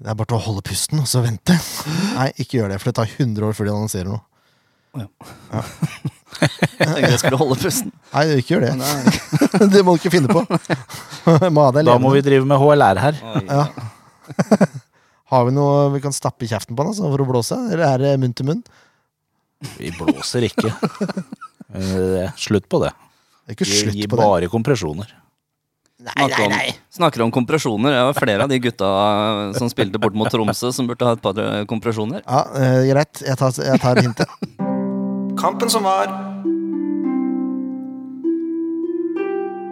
[SPEAKER 2] Det er bare til å holde pusten altså, og så vente. Nei, ikke gjør det, for det tar 100 år før de annonserer noe.
[SPEAKER 3] Jeg tenkte jeg skulle holde pusten.
[SPEAKER 2] Nei, ikke gjør det.
[SPEAKER 3] Men det er-
[SPEAKER 2] Det må du ikke finne på. Må ha deg
[SPEAKER 1] Da må
[SPEAKER 2] levende.
[SPEAKER 1] vi drive med HLR her.
[SPEAKER 3] Oi,
[SPEAKER 2] Ja. Har vi noe vi kan stappe i kjeften på han altså, for å blåse, eller er det munn til munn?
[SPEAKER 1] Vi blåser ikke. Eh, Slutt på det.
[SPEAKER 2] Det er ikke
[SPEAKER 1] Vi
[SPEAKER 2] slutt
[SPEAKER 1] gir
[SPEAKER 2] på det.
[SPEAKER 1] bare kompresjoner.
[SPEAKER 2] Nei, nei, nei.
[SPEAKER 3] Snakker om kompresjoner. Det var flere av de gutta eh, som spilte bort mot Tromsø, som burde ha et par eh, kompresjoner.
[SPEAKER 2] Ja, eh, greit. Jeg tar, jeg tar hintet.
[SPEAKER 4] Kampen som var.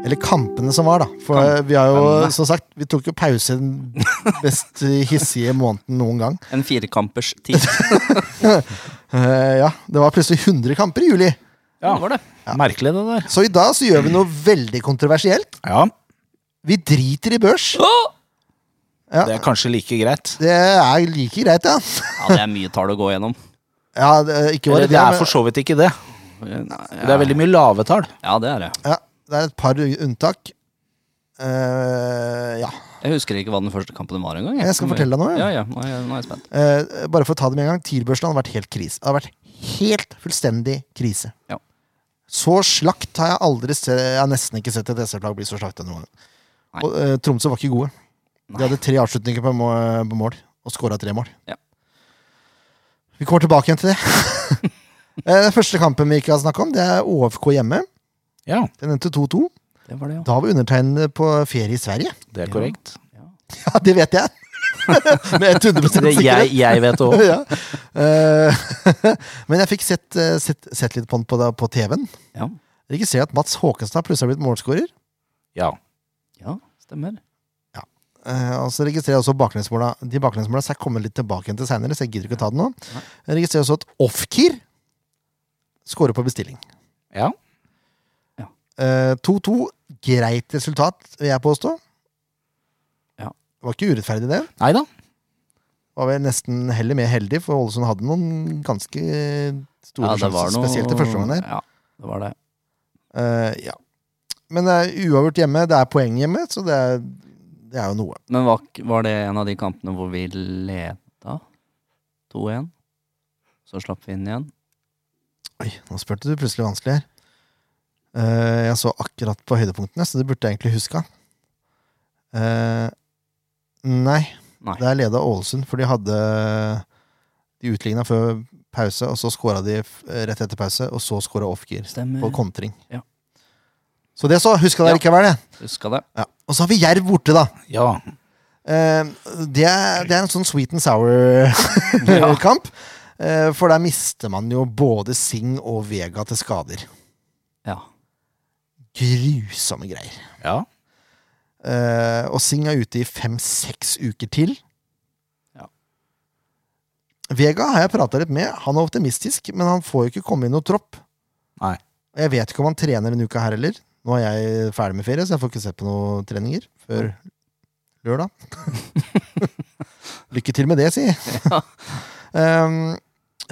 [SPEAKER 2] Eller kampene som var, da. For eh, vi har jo, som sagt, vi tok jo pause den best hissige måneden noen gang.
[SPEAKER 3] En firekampers tid.
[SPEAKER 2] Eh, ja, Det var plutselig 100 kamper i juli.
[SPEAKER 1] Ja.
[SPEAKER 3] Det var det.
[SPEAKER 1] Merkelig, det der.
[SPEAKER 2] Så i dag så gjør vi noe veldig kontroversielt.
[SPEAKER 1] Ja,
[SPEAKER 2] Vi driter i børs. Ja.
[SPEAKER 1] det er kanskje like greit.
[SPEAKER 2] Det er like greit, ja.
[SPEAKER 3] Ja, det er mye tall å gå gjennom.
[SPEAKER 2] ja det, ikke
[SPEAKER 1] Eller,
[SPEAKER 2] bare
[SPEAKER 1] det er
[SPEAKER 2] men-
[SPEAKER 1] for så vidt ikke det.
[SPEAKER 3] Nei,
[SPEAKER 1] Det er veldig mye lave tall.
[SPEAKER 3] Ja, det er det.
[SPEAKER 2] Ja, det er et par unntak. Eh, ja.
[SPEAKER 3] Jeg husker ikke hva den første kampen var engang.
[SPEAKER 2] Jeg skal fortelle deg nå, jeg.
[SPEAKER 3] Ja, ja. Nå er jeg, nå er jeg spent.
[SPEAKER 2] Eh, bare for å ta det med en gang. TIL-børsen hadde vært helt krise. Det hadde vært helt fullstendig krise.
[SPEAKER 3] Ja.
[SPEAKER 2] Så slakt har jeg aldri se, Jeg har nesten ikke sett et SF-lag bli så slakta noen gang.
[SPEAKER 3] Nei.
[SPEAKER 2] Og eh, Tromsø var ikke gode. De hadde tre avslutninger på, må, på mål, og skåra tre mål.
[SPEAKER 3] Ja.
[SPEAKER 2] Vi kommer tilbake igjen til det. Eh, Den første kampen vi ikke har snakka om, det er OFK hjemme.
[SPEAKER 1] Ja,
[SPEAKER 2] Den endte 2-2.
[SPEAKER 3] Det var det, ja.
[SPEAKER 2] Da var undertegnede på ferie i Sverige.
[SPEAKER 1] det er korrekt.
[SPEAKER 2] Ja, det vet jeg! Med 100
[SPEAKER 1] Det
[SPEAKER 2] sikkerhet.
[SPEAKER 1] jeg, jeg vet det òg.
[SPEAKER 2] ja. Eh, men jeg fikk sett, eh, sett, sett litt på den på, da- på TV-en.
[SPEAKER 3] Ja,
[SPEAKER 2] Registrerer at Mats Håkenstad plutselig har blitt målskårer.
[SPEAKER 1] Ja.
[SPEAKER 3] ja stemmer.
[SPEAKER 2] Eh, og så registrerer jeg også baklengsmåla. De baklengsmåla skal jeg komme litt tilbake igjen til seinere, så jeg gidder ikke å ta det nå. Jeg registrerer også at Ofkir skårer på bestilling.
[SPEAKER 1] ja.
[SPEAKER 2] Eh, 2-2. Greit resultat, vil jeg påstå.
[SPEAKER 3] Ja.
[SPEAKER 2] Det var ikke urettferdig, det.
[SPEAKER 1] Nei da.
[SPEAKER 2] Var vel nesten heller mer heldig, for Ålesund hadde noen ganske store
[SPEAKER 3] Ja, det var
[SPEAKER 2] sjanser,
[SPEAKER 3] noe
[SPEAKER 2] spesielt i første omgang der.
[SPEAKER 3] Ja, det var det.
[SPEAKER 2] Eh, ja. Men det er uavgjort hjemme. Det er poeng hjemme, så det er, det er jo noe.
[SPEAKER 3] Men var, var det en av de kampene hvor vi leda 2-1? Så slapp vi inn igjen.
[SPEAKER 2] Oi, nå spurte du plutselig vanskelig her. Eh, jeg så akkurat på høydepunktene, så det burde jeg egentlig huska. Eh, nei,
[SPEAKER 3] Nei.
[SPEAKER 2] det er leda Ålesund, for de hadde De utligna før pause, og så skåra de f- rett etter pause, og så skåra Ofgir
[SPEAKER 3] Stemmer.
[SPEAKER 2] på kontring.
[SPEAKER 3] Mm. Ja.
[SPEAKER 2] Så det så! Huska dere
[SPEAKER 3] Ja.
[SPEAKER 2] likevel det?
[SPEAKER 3] Huska det.
[SPEAKER 2] Ja. Og så har vi Jerv borte, da.
[SPEAKER 1] Ja.
[SPEAKER 2] Eh, det, er, det er en sånn sweet and sour-kamp. for der mister man jo både Singh og Vega til skader.
[SPEAKER 3] Ja.
[SPEAKER 2] Grusomme greier.
[SPEAKER 1] ja.
[SPEAKER 2] Eh, og Singh er ute i fem-seks uker til.
[SPEAKER 3] Ja.
[SPEAKER 2] Vega har jeg prata litt med. Han er optimistisk, men han får jo ikke komme i noe tropp.
[SPEAKER 1] Nei.
[SPEAKER 2] Og Jeg vet ikke om han trener denne uka her heller. Nå er jeg ferdig med ferie, så jeg får ikke sett på noen treninger før lørdag. Lykke til med det, si. um,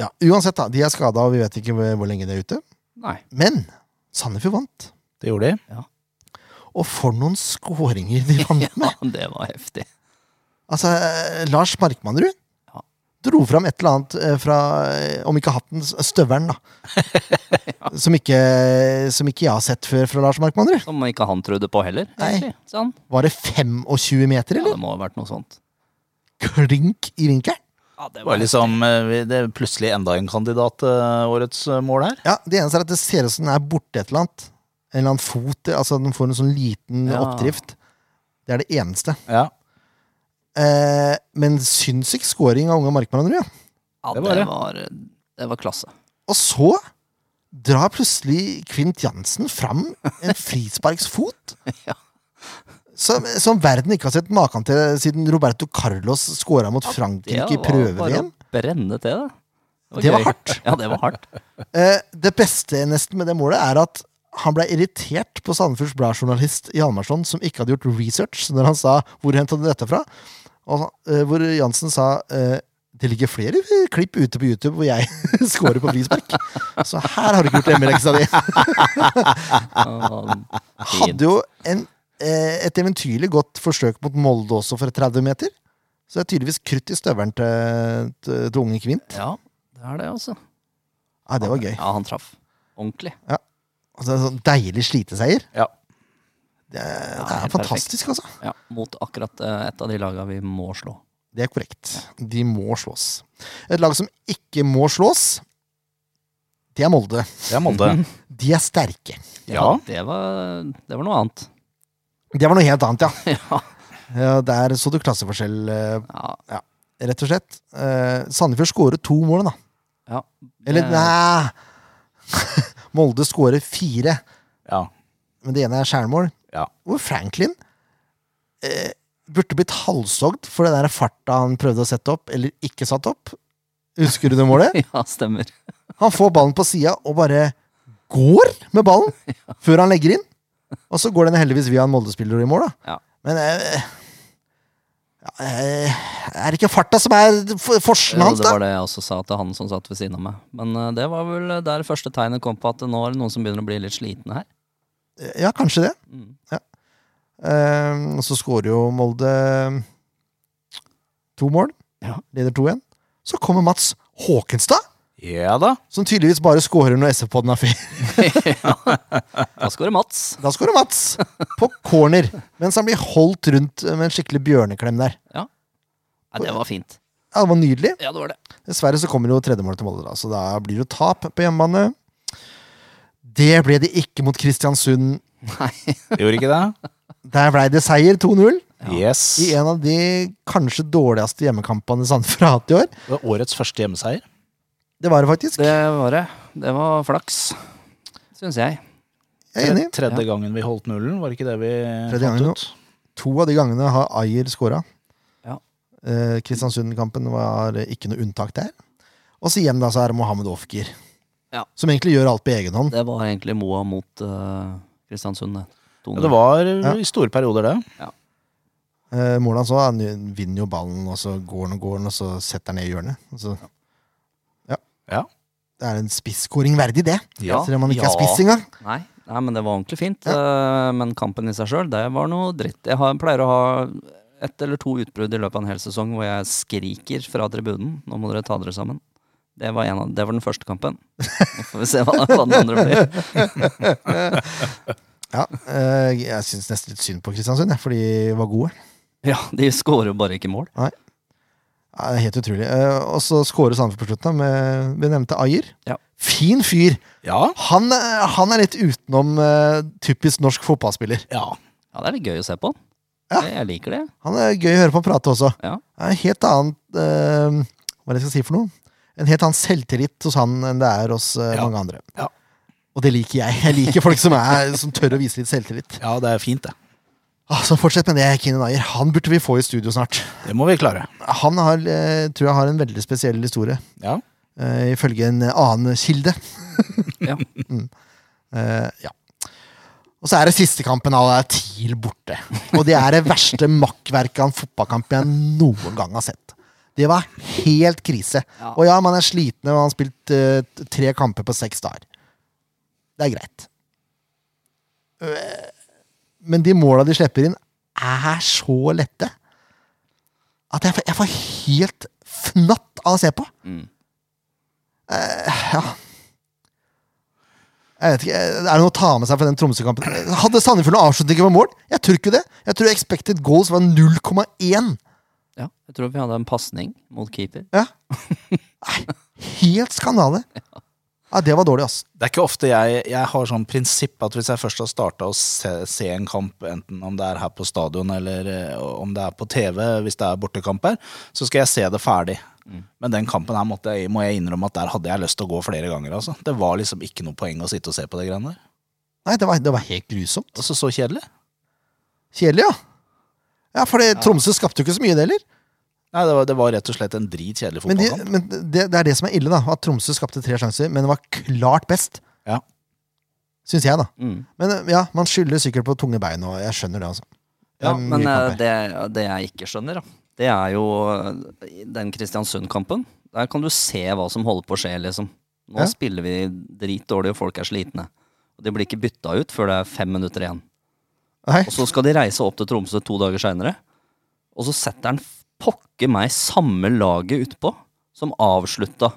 [SPEAKER 2] ja, uansett, da. De er skada, og vi vet ikke hvor hvor lenge de er ute.
[SPEAKER 3] Nei.
[SPEAKER 2] Men Sandefjord vant.
[SPEAKER 1] Det gjorde de.
[SPEAKER 2] Og for noen skåringer de vant
[SPEAKER 3] Ja,
[SPEAKER 2] med!
[SPEAKER 3] det var heftig.
[SPEAKER 2] Altså, eh, Lars Markmannrud
[SPEAKER 3] Ja.
[SPEAKER 2] dro fram et eller annet eh, fra, eh, om ikke hatten, s- støvelen, da. som, ikke, som ikke jeg har sett før fra Lars Markmannrud.
[SPEAKER 3] Som ikke han trodde på heller.
[SPEAKER 2] Nei.
[SPEAKER 3] egentlig. Sånn.
[SPEAKER 2] Var det 25 meter,
[SPEAKER 3] Ja,
[SPEAKER 2] eller?
[SPEAKER 3] det må ha vært noe sånt.
[SPEAKER 2] Klink i vinkelen.
[SPEAKER 3] Ja, det
[SPEAKER 1] Det var liksom eh, vi- Det er plutselig enda en kandidat, eh, årets eh, mål her.
[SPEAKER 2] Ja, Det eneste er at det ser ut som den er borte et eller annet. En eller annen fot. altså Den får en sånn liten
[SPEAKER 3] Ja.
[SPEAKER 2] oppdrift. Det er det eneste.
[SPEAKER 1] Ja.
[SPEAKER 2] Eh, men sinnssyk scoring av unge markmannere. Ja.
[SPEAKER 3] ja,
[SPEAKER 1] det var det.
[SPEAKER 3] det, var, eh, det var klasse.
[SPEAKER 2] Og så drar plutselig Kvint Jansen fram en frisparksfot.
[SPEAKER 3] Ja.
[SPEAKER 2] Som, som verden ikke har sett maken til siden Roberto Carlos scora mot
[SPEAKER 3] Det
[SPEAKER 2] Frankrike i
[SPEAKER 3] var bare
[SPEAKER 2] prøve-VM.
[SPEAKER 3] å brenne til, det.
[SPEAKER 2] Det var
[SPEAKER 3] gøy.
[SPEAKER 2] hardt.
[SPEAKER 3] Ja, det var hardt.
[SPEAKER 2] Eh, det beste nesten med det målet er at han ble irritert på Sandefjords Blad-journalist Hjalmarsson, som ikke hadde gjort research, så når han sa 'hvor henta du dette fra?' Og, eh, hvor Jansen sa eh, 'det ligger flere klipp ute på YouTube hvor jeg scorer på frispark', så her har du ikke gjort hjemmeleksa di.
[SPEAKER 3] Ja,
[SPEAKER 2] Hadde jo en, eh, et eventyrlig godt forsøk mot Molde også for 30 meter. Så det er tydeligvis krutt i støvelen til, til, til unge Kvint.
[SPEAKER 3] Ja, det er det, altså.
[SPEAKER 2] Ja, det var gøy.
[SPEAKER 3] Ja, han traff. Ordentlig.
[SPEAKER 2] Altså, en sånn deilig sliteseier.
[SPEAKER 1] Ja.
[SPEAKER 2] Det, er-
[SPEAKER 3] Ja,
[SPEAKER 2] det er
[SPEAKER 3] helt
[SPEAKER 2] fantastisk, altså.
[SPEAKER 3] Ja, Mot akkurat eh, et av de laga vi må slå.
[SPEAKER 2] Det er korrekt. De må slås. Et lag som ikke må slås, det er Molde.
[SPEAKER 1] Det er Molde.
[SPEAKER 2] De er sterke.
[SPEAKER 1] Ja.
[SPEAKER 3] det, var, det var noe annet.
[SPEAKER 2] Det var noe helt annet, ja.
[SPEAKER 3] ja.
[SPEAKER 2] ja der så du klasseforskjell, eh,
[SPEAKER 3] ja,
[SPEAKER 2] rett og slett. Eh, Sandefjord skåret to mål, da.
[SPEAKER 3] ja.
[SPEAKER 2] Eller nei Molde skårer fire,
[SPEAKER 1] Ja.
[SPEAKER 2] men det ene er skjærmål.
[SPEAKER 1] ja.
[SPEAKER 2] Hvor Franklin eh, burde blitt halshogd for den der farta han prøvde å sette opp, eller ikke satt opp. Husker du det målet?
[SPEAKER 3] Ja, stemmer.
[SPEAKER 2] Han får ballen på sida og bare går med ballen før han legger inn. Og så går den heldigvis via en Molde-spiller i mål, da.
[SPEAKER 3] Ja.
[SPEAKER 2] Men eh, ja, eh, er det ikke farta som er for-
[SPEAKER 3] Jo,
[SPEAKER 2] forskjellen hans,
[SPEAKER 3] det
[SPEAKER 2] da?
[SPEAKER 3] var det jeg også sa til han som satt ved siden av meg. Men eh, det var vel der første tegnet kom på at nå er det noen som begynner å bli litt slitne her.
[SPEAKER 2] Ja, kanskje det.
[SPEAKER 3] Mm.
[SPEAKER 2] Eh, og så skårer jo Molde ehm, to mål.
[SPEAKER 3] Ja.
[SPEAKER 2] Leder 2-1. Så kommer Mats Håkenstad,
[SPEAKER 1] Ja da.
[SPEAKER 2] som tydeligvis bare skårer når SF-podden er fri.
[SPEAKER 3] Da skårer Mats.
[SPEAKER 2] Da skårer Mats! På corner. Mens han blir holdt rundt med en skikkelig bjørneklem der.
[SPEAKER 3] Nei, det var fint.
[SPEAKER 2] Ja, det var nydelig.
[SPEAKER 3] Ja, det var det.
[SPEAKER 2] Dessverre så kommer jo tredjemålet til Molde, da, så da blir det jo tap på hjemmebane. Det ble det ikke mot Kristiansund.
[SPEAKER 1] Gjorde ikke det?
[SPEAKER 2] Der blei det seier 2-0.
[SPEAKER 1] Yes.
[SPEAKER 2] I en av de kanskje dårligste hjemmekampene Sandefjord har hatt i år.
[SPEAKER 1] Det var årets første hjemmeseier.
[SPEAKER 2] Det var det faktisk.
[SPEAKER 3] Det var det. Det var flaks, syns jeg.
[SPEAKER 2] Jeg er enig.
[SPEAKER 1] Tredje gangen vi holdt nullen, var det ikke det vi
[SPEAKER 2] Tredje gangen,
[SPEAKER 1] fant ut?
[SPEAKER 2] To av de gangene har Ayer skåra.
[SPEAKER 3] Ja.
[SPEAKER 2] Eh, Kristiansund-kampen var ikke noe unntak der. Og så igjen da så er det Mohammed Ofker.
[SPEAKER 3] Ja.
[SPEAKER 2] Som egentlig gjør alt på egen hånd.
[SPEAKER 3] Det var egentlig Moa mot eh, Kristiansund.
[SPEAKER 1] Ja, det var
[SPEAKER 2] Ja.
[SPEAKER 1] i store perioder, det.
[SPEAKER 2] Eh, Målet hans også, han vinner jo ballen, og så går han og går han, og så setter han ned i hjørnet. Og så, ja.
[SPEAKER 1] Ja.
[SPEAKER 2] Det er en spisskåring verdig, det.
[SPEAKER 3] Ja.
[SPEAKER 2] Selv om han ikke er
[SPEAKER 3] Ja.
[SPEAKER 2] spiss engang.
[SPEAKER 3] Nei, nei, men det var ordentlig fint. eh, Men kampen i seg sjøl, det var noe dritt. Jeg har, pleier å ha ett eller to utbrudd i løpet av en hel sesong hvor jeg skriker fra tribunen. Nå må dere ta dere sammen. Det var, en av, det var den første kampen. Nå får vi se hva, hva den andre blir.
[SPEAKER 2] Ja, eh, jeg syns nesten litt synd på Kristiansund, jeg, for de var gode.
[SPEAKER 3] Ja, de scorer jo bare ikke mål.
[SPEAKER 2] Ja, det er helt utrolig. Eh, og så skårer Sandefjord på slutten, da, med vi nevnte Ayer.
[SPEAKER 3] Ja.
[SPEAKER 2] Fin fyr!
[SPEAKER 1] Ja.
[SPEAKER 2] Han, eh, han er litt utenom eh, typisk norsk fotballspiller.
[SPEAKER 1] ja.
[SPEAKER 3] Ja, det er litt gøy å se på.
[SPEAKER 2] Ja.
[SPEAKER 3] Jeg, jeg liker det.
[SPEAKER 2] Han er gøy å høre på prate også.
[SPEAKER 3] Ja.
[SPEAKER 2] Det er En helt annen eh, Hva er det jeg skal si for noe? En helt annen selvtillit hos han enn det er hos eh,
[SPEAKER 1] Ja.
[SPEAKER 2] mange andre.
[SPEAKER 1] Ja.
[SPEAKER 2] Og det liker jeg. Jeg liker folk som, er, som tør å vise litt selvtillit.
[SPEAKER 1] Ja, det er fint, det.
[SPEAKER 2] Ah, Så fortsett med det, Kine Nayer. Han burde vi få i studio snart.
[SPEAKER 1] Det må vi klare.
[SPEAKER 2] Han har, eh, tror jeg har en veldig spesiell historie.
[SPEAKER 1] Ja.
[SPEAKER 2] eh, ifølge en annen kilde.
[SPEAKER 3] Ja.
[SPEAKER 2] Mm. Eh, ja. Og så er det siste kampen, og det er TIL borte. Og det er det verste makkverket av en fotballkamp jeg noen gang har sett. Det var helt krise.
[SPEAKER 3] Ja.
[SPEAKER 2] Og ja, man er sliten, og man har spilt eh, t- tre kamper på seks dager. Det er greit. Øh, Men de måla de slipper inn, er så lette at jeg, får- jeg får helt fnatt av å se på.
[SPEAKER 3] Mm.
[SPEAKER 2] Ja. Jeg vet ikke, Er det noe å ta med seg fra den Tromsø-kampen? Hadde Sandefjord noen avslutninger på mål? Jeg tror ikke det. Jeg tror expected goals var 0,1.
[SPEAKER 3] ja. Jeg tror vi hadde en pasning mot keeper.
[SPEAKER 2] Ja. Nei, helt skandale. Ja, det var dårlig, ass.
[SPEAKER 1] Det er ikke ofte jeg, jeg har sånn prinsipp at hvis jeg først har starta å se, se en kamp, enten om det er her på stadion eller eh, om det er på TV, hvis det er bortekamp her, så skal jeg se det ferdig.
[SPEAKER 2] Mm.
[SPEAKER 1] Men den kampen her måtte jeg, må jeg innrømme at der hadde jeg lyst til å gå flere ganger. altså. Det var liksom ikke noe poeng å sitte og se på de greiene der.
[SPEAKER 2] Nei, det var, det var helt grusomt.
[SPEAKER 1] Altså, så kjedelig.
[SPEAKER 2] Kjedelig, ja. Ja, for det, Tromsø skapte jo ikke så mye, det heller.
[SPEAKER 1] Nei, det var, det var rett og slett en dritkjedelig
[SPEAKER 2] Men, de,
[SPEAKER 1] fotballkamp.
[SPEAKER 2] men det, det er det som er ille, da. At Tromsø skapte tre sjanser, men det var klart best.
[SPEAKER 1] Ja.
[SPEAKER 2] Syns jeg, da.
[SPEAKER 3] Mm.
[SPEAKER 2] Men eh, ja, man skylder sikkert på tunge bein, og jeg skjønner det, altså. Det er
[SPEAKER 3] Ja,
[SPEAKER 2] mye
[SPEAKER 3] men eh,
[SPEAKER 2] kamper.
[SPEAKER 3] det, det jeg ikke skjønner, da, det er jo eh, den Kristiansund-kampen. Der kan du se hva som holder på å skje, liksom. Nå
[SPEAKER 2] Ja.
[SPEAKER 3] spiller vi dritdårlig, og folk er slitne. Og de blir ikke bytta ut før det er fem minutter igjen.
[SPEAKER 2] Nei.
[SPEAKER 3] Og så skal de reise opp til Tromsø to dager seinere. Og så setter han pokker meg samme laget utpå som avslutta.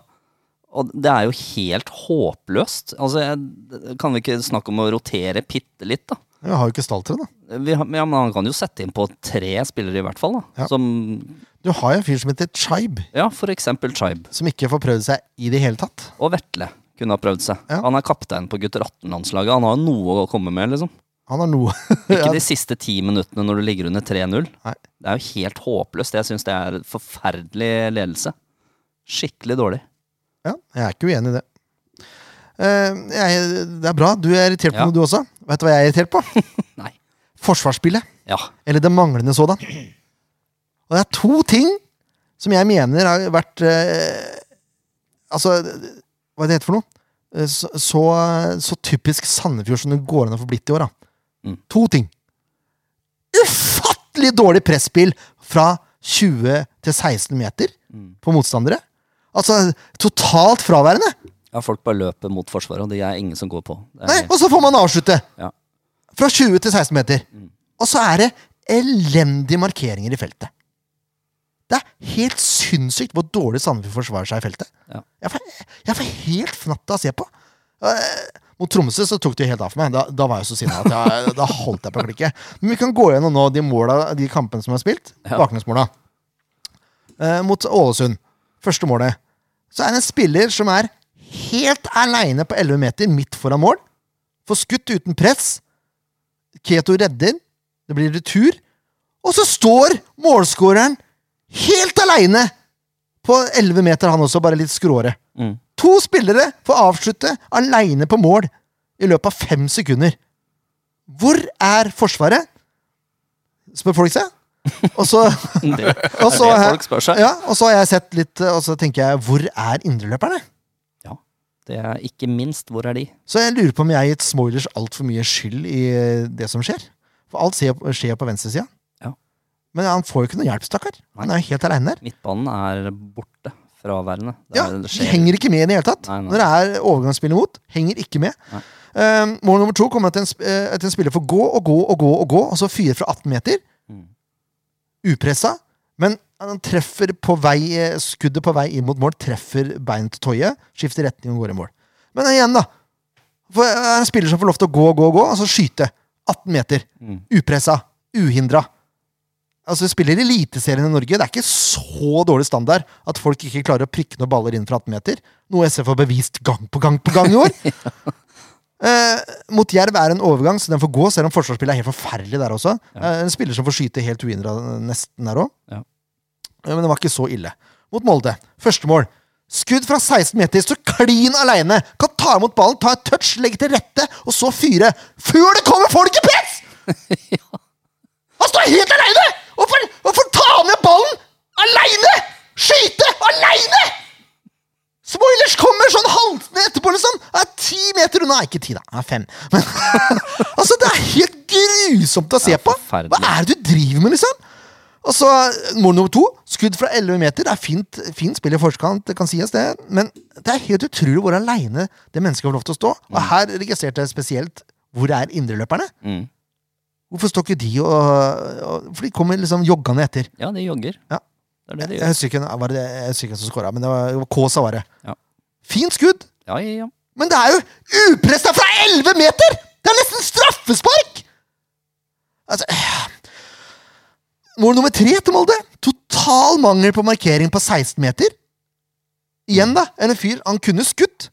[SPEAKER 3] Og det er jo helt håpløst. Altså, jeg, kan vi ikke snakke om å rotere bitte litt, da?
[SPEAKER 2] Vi har jo ikke stall til det, da.
[SPEAKER 3] Vi, har- ja, men han kan jo sette inn på tre spillere i hvert fall, da.
[SPEAKER 2] Ja.
[SPEAKER 3] Som
[SPEAKER 2] Du har jo en fyr som heter Chibe,
[SPEAKER 3] Ja, for eksempel Chibe
[SPEAKER 2] som ikke får prøvd seg i det hele tatt.
[SPEAKER 3] og Vetle kunne ha prøvd seg.
[SPEAKER 2] Ja.
[SPEAKER 3] Han er kaptein på gutter 18-landslaget. Han har jo noe å komme med, liksom.
[SPEAKER 2] Han har noe
[SPEAKER 3] Ikke
[SPEAKER 2] Ja.
[SPEAKER 3] de siste ti minuttene når du ligger under 3-0.
[SPEAKER 2] Nei.
[SPEAKER 3] Det er jo helt håpløst. Jeg syns det er forferdelig ledelse. Skikkelig dårlig.
[SPEAKER 2] Ja, jeg er ikke uenig i det. Eh, jeg, det er bra. Du er irritert på
[SPEAKER 3] Ja.
[SPEAKER 2] noe, du også. Vet du hva jeg er irritert på?
[SPEAKER 3] Nei.
[SPEAKER 2] Forsvarsspillet.
[SPEAKER 3] Ja.
[SPEAKER 2] Eller det manglende sådan. Og det er to ting som jeg mener har vært eh, Altså, hva er det heter for noe? Eh, Så, så, så typisk Sandefjord som det går an å få blitt i år, da.
[SPEAKER 3] Mm.
[SPEAKER 2] To ting. Ufattelig dårlig presspill fra 20 til 16 meter
[SPEAKER 3] Mm.
[SPEAKER 2] på motstandere. Altså totalt fraværende.
[SPEAKER 3] ja, folk bare løper mot Forsvaret, og det er ingen som går på. Det
[SPEAKER 2] Nei,
[SPEAKER 3] er,
[SPEAKER 2] og så får man avslutte!
[SPEAKER 3] Ja.
[SPEAKER 2] Fra 20 til 16 meter.
[SPEAKER 3] Mm.
[SPEAKER 2] Og så er det elendige markeringer i feltet. Det er helt sinnssykt hvor dårlig Sandefjord forsvarer seg i feltet.
[SPEAKER 3] Ja.
[SPEAKER 2] Jeg, får, jeg får helt fnatt av å se på. Eh, Mot Tromsø så tok det helt av for meg. Da, da var jeg så sinna at jeg, da holdt jeg på å klikke. Men vi kan gå gjennom nå de, måla, de kampene som er spilt.
[SPEAKER 3] Ja.
[SPEAKER 2] Baklengsmåla. Eh, mot Ålesund. Første målet. Så er det en spiller som er helt aleine på 11 meter, midt foran mål. Får skutt uten press. Keto redder. Det blir retur. Og så står målskåreren helt aleine på 11 meter, han også, bare litt skråere.
[SPEAKER 3] mm.
[SPEAKER 2] To spillere får avslutte aleine på mål i løpet av fem sekunder. Hvor er Forsvaret? Spør folk seg. Og så,
[SPEAKER 3] det,
[SPEAKER 2] og så
[SPEAKER 3] det er det folk spør seg.
[SPEAKER 2] ja, og så har jeg sett litt, og så tenker jeg, hvor er indreløperne?
[SPEAKER 3] Ja. Det er ikke minst hvor er de?
[SPEAKER 2] Så jeg lurer på om jeg har gitt Smoilers altfor mye skyld i eh, det som skjer. For alt skjer, skjer på venstresida.
[SPEAKER 3] Ja.
[SPEAKER 2] Men han får jo ikke noe hjelp, stakkar. Han er jo helt aleine der.
[SPEAKER 3] Midtbanen er borte. Fraværende. Det
[SPEAKER 2] Ja,
[SPEAKER 3] er- det
[SPEAKER 2] de
[SPEAKER 3] skjer-
[SPEAKER 2] henger ikke med i det hele tatt.
[SPEAKER 3] Nei, nei.
[SPEAKER 2] Når det er overgangsspill imot, henger ikke med.
[SPEAKER 3] Nei.
[SPEAKER 2] Eh, mål nummer to kommer til en, sp- eh, at en spiller får gå og gå og gå og gå, og så fyre fra 18 meter.
[SPEAKER 3] Mm.
[SPEAKER 2] Upressa. Men han treffer på vei, eh, skuddet på vei inn mot mål, treffer beinet til Toje, skifter retning og går i mål. Men igjen, da. For det er en spiller som får lov til å gå og gå og gå, og så skyte. 18 meter.
[SPEAKER 3] Mm.
[SPEAKER 2] Upressa. Uhindra. Altså, vi spiller i Eliteserien i Norge. Det er ikke så dårlig standard at folk ikke klarer å prikke noen baller inn fra 18 meter. Noe SF har bevist gang på gang på gang i år. Eh, mot Jerv er en overgang, så den får gå, selv om forsvarsspillet er helt forferdelig der også. Eh, en spiller som får skyte helt uhindra eh, nesten der òg.
[SPEAKER 3] Ja.
[SPEAKER 2] men det var ikke så ille. Mot Molde. Første mål. Skudd fra 16 meter, så klin aleine! Kan ta imot ballen, ta et touch, legge til rette, og så fyre. Før det kommer folk i press! Han står helt aleine! Hvorfor, hvorfor ta ned ballen aleine? Skyte aleine! Spoilers kommer sånn haltende etterpå, liksom. Er ti meter unna. Nei, ikke ti, da. Er fem. Men, altså, det er helt grusomt å se på.
[SPEAKER 3] forferdelig.
[SPEAKER 2] Hva er det du driver med, liksom? Og så mål nummer to. Skudd fra 11 meter. Det er fint, fint spill i forkant, det kan sies det. Men det er helt utrolig hvor aleine det mennesket får lov til å stå. Og her registrerte jeg spesielt hvor er indreløperne?
[SPEAKER 3] Mm.
[SPEAKER 2] Hvorfor står ikke de og, og For de kommer liksom joggende etter.
[SPEAKER 3] Ja, de jogger.
[SPEAKER 2] Ja.
[SPEAKER 3] Det er det de
[SPEAKER 2] Jeg
[SPEAKER 3] gjør.
[SPEAKER 2] husker ikke var det, jeg husker ikke hvem som scora, men det var, det var Kåsa var det.
[SPEAKER 3] Ja.
[SPEAKER 2] Fint skudd,
[SPEAKER 3] Ja, ja, ja.
[SPEAKER 2] men det er jo upressa fra 11 meter! Det er nesten straffespark! Altså eh. Mål nummer tre til Molde. Total mangel på markering på 16 meter. Igjen, da. En fyr han kunne skutt.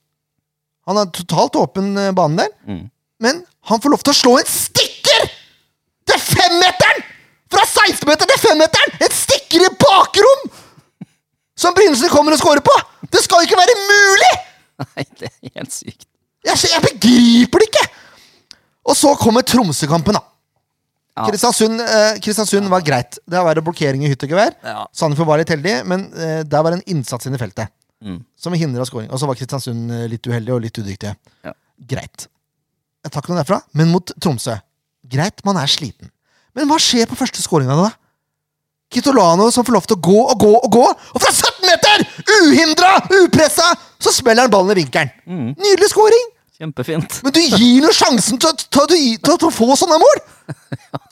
[SPEAKER 2] Han har totalt åpen eh, bane der.
[SPEAKER 3] Mm.
[SPEAKER 2] Men han får lov til å slå en stikker til femmeteren! Fra 16-meteren til femmeteren! En stikker i bakrom! Som Brynesen kommer og scorer på! Det skal jo ikke være mulig!
[SPEAKER 3] Nei, det er helt sykt.
[SPEAKER 2] Jeg, skj- jeg begriper det ikke! Og så kommer Tromsø-kampen, da.
[SPEAKER 3] Ja.
[SPEAKER 2] Kristiansund, eh, Kristiansund var greit. Det var det blokkering i hytt og gevær.
[SPEAKER 3] Ja.
[SPEAKER 2] Sandefjord var litt heldig, men eh, der var det en innsats inne i feltet.
[SPEAKER 3] Mm.
[SPEAKER 2] Som hindra scoring. Og så var Kristiansund eh, litt uheldig og litt udyktige.
[SPEAKER 3] Ja.
[SPEAKER 2] Greit. Jeg tar ikke noe derfra. Men mot Tromsø. Greit, man er sliten. Men hva skjer på første scoringa, da? Kitolano som får lov til å gå og gå og gå, og fra 17 meter! Uhindra! Upressa! Så smeller han ballen i vinkelen.
[SPEAKER 3] Mm.
[SPEAKER 2] Nydelig scoring!
[SPEAKER 3] Kjempefint.
[SPEAKER 2] Men du gir jo sjansen til, å- til, å- til, å- til å få sånne mål!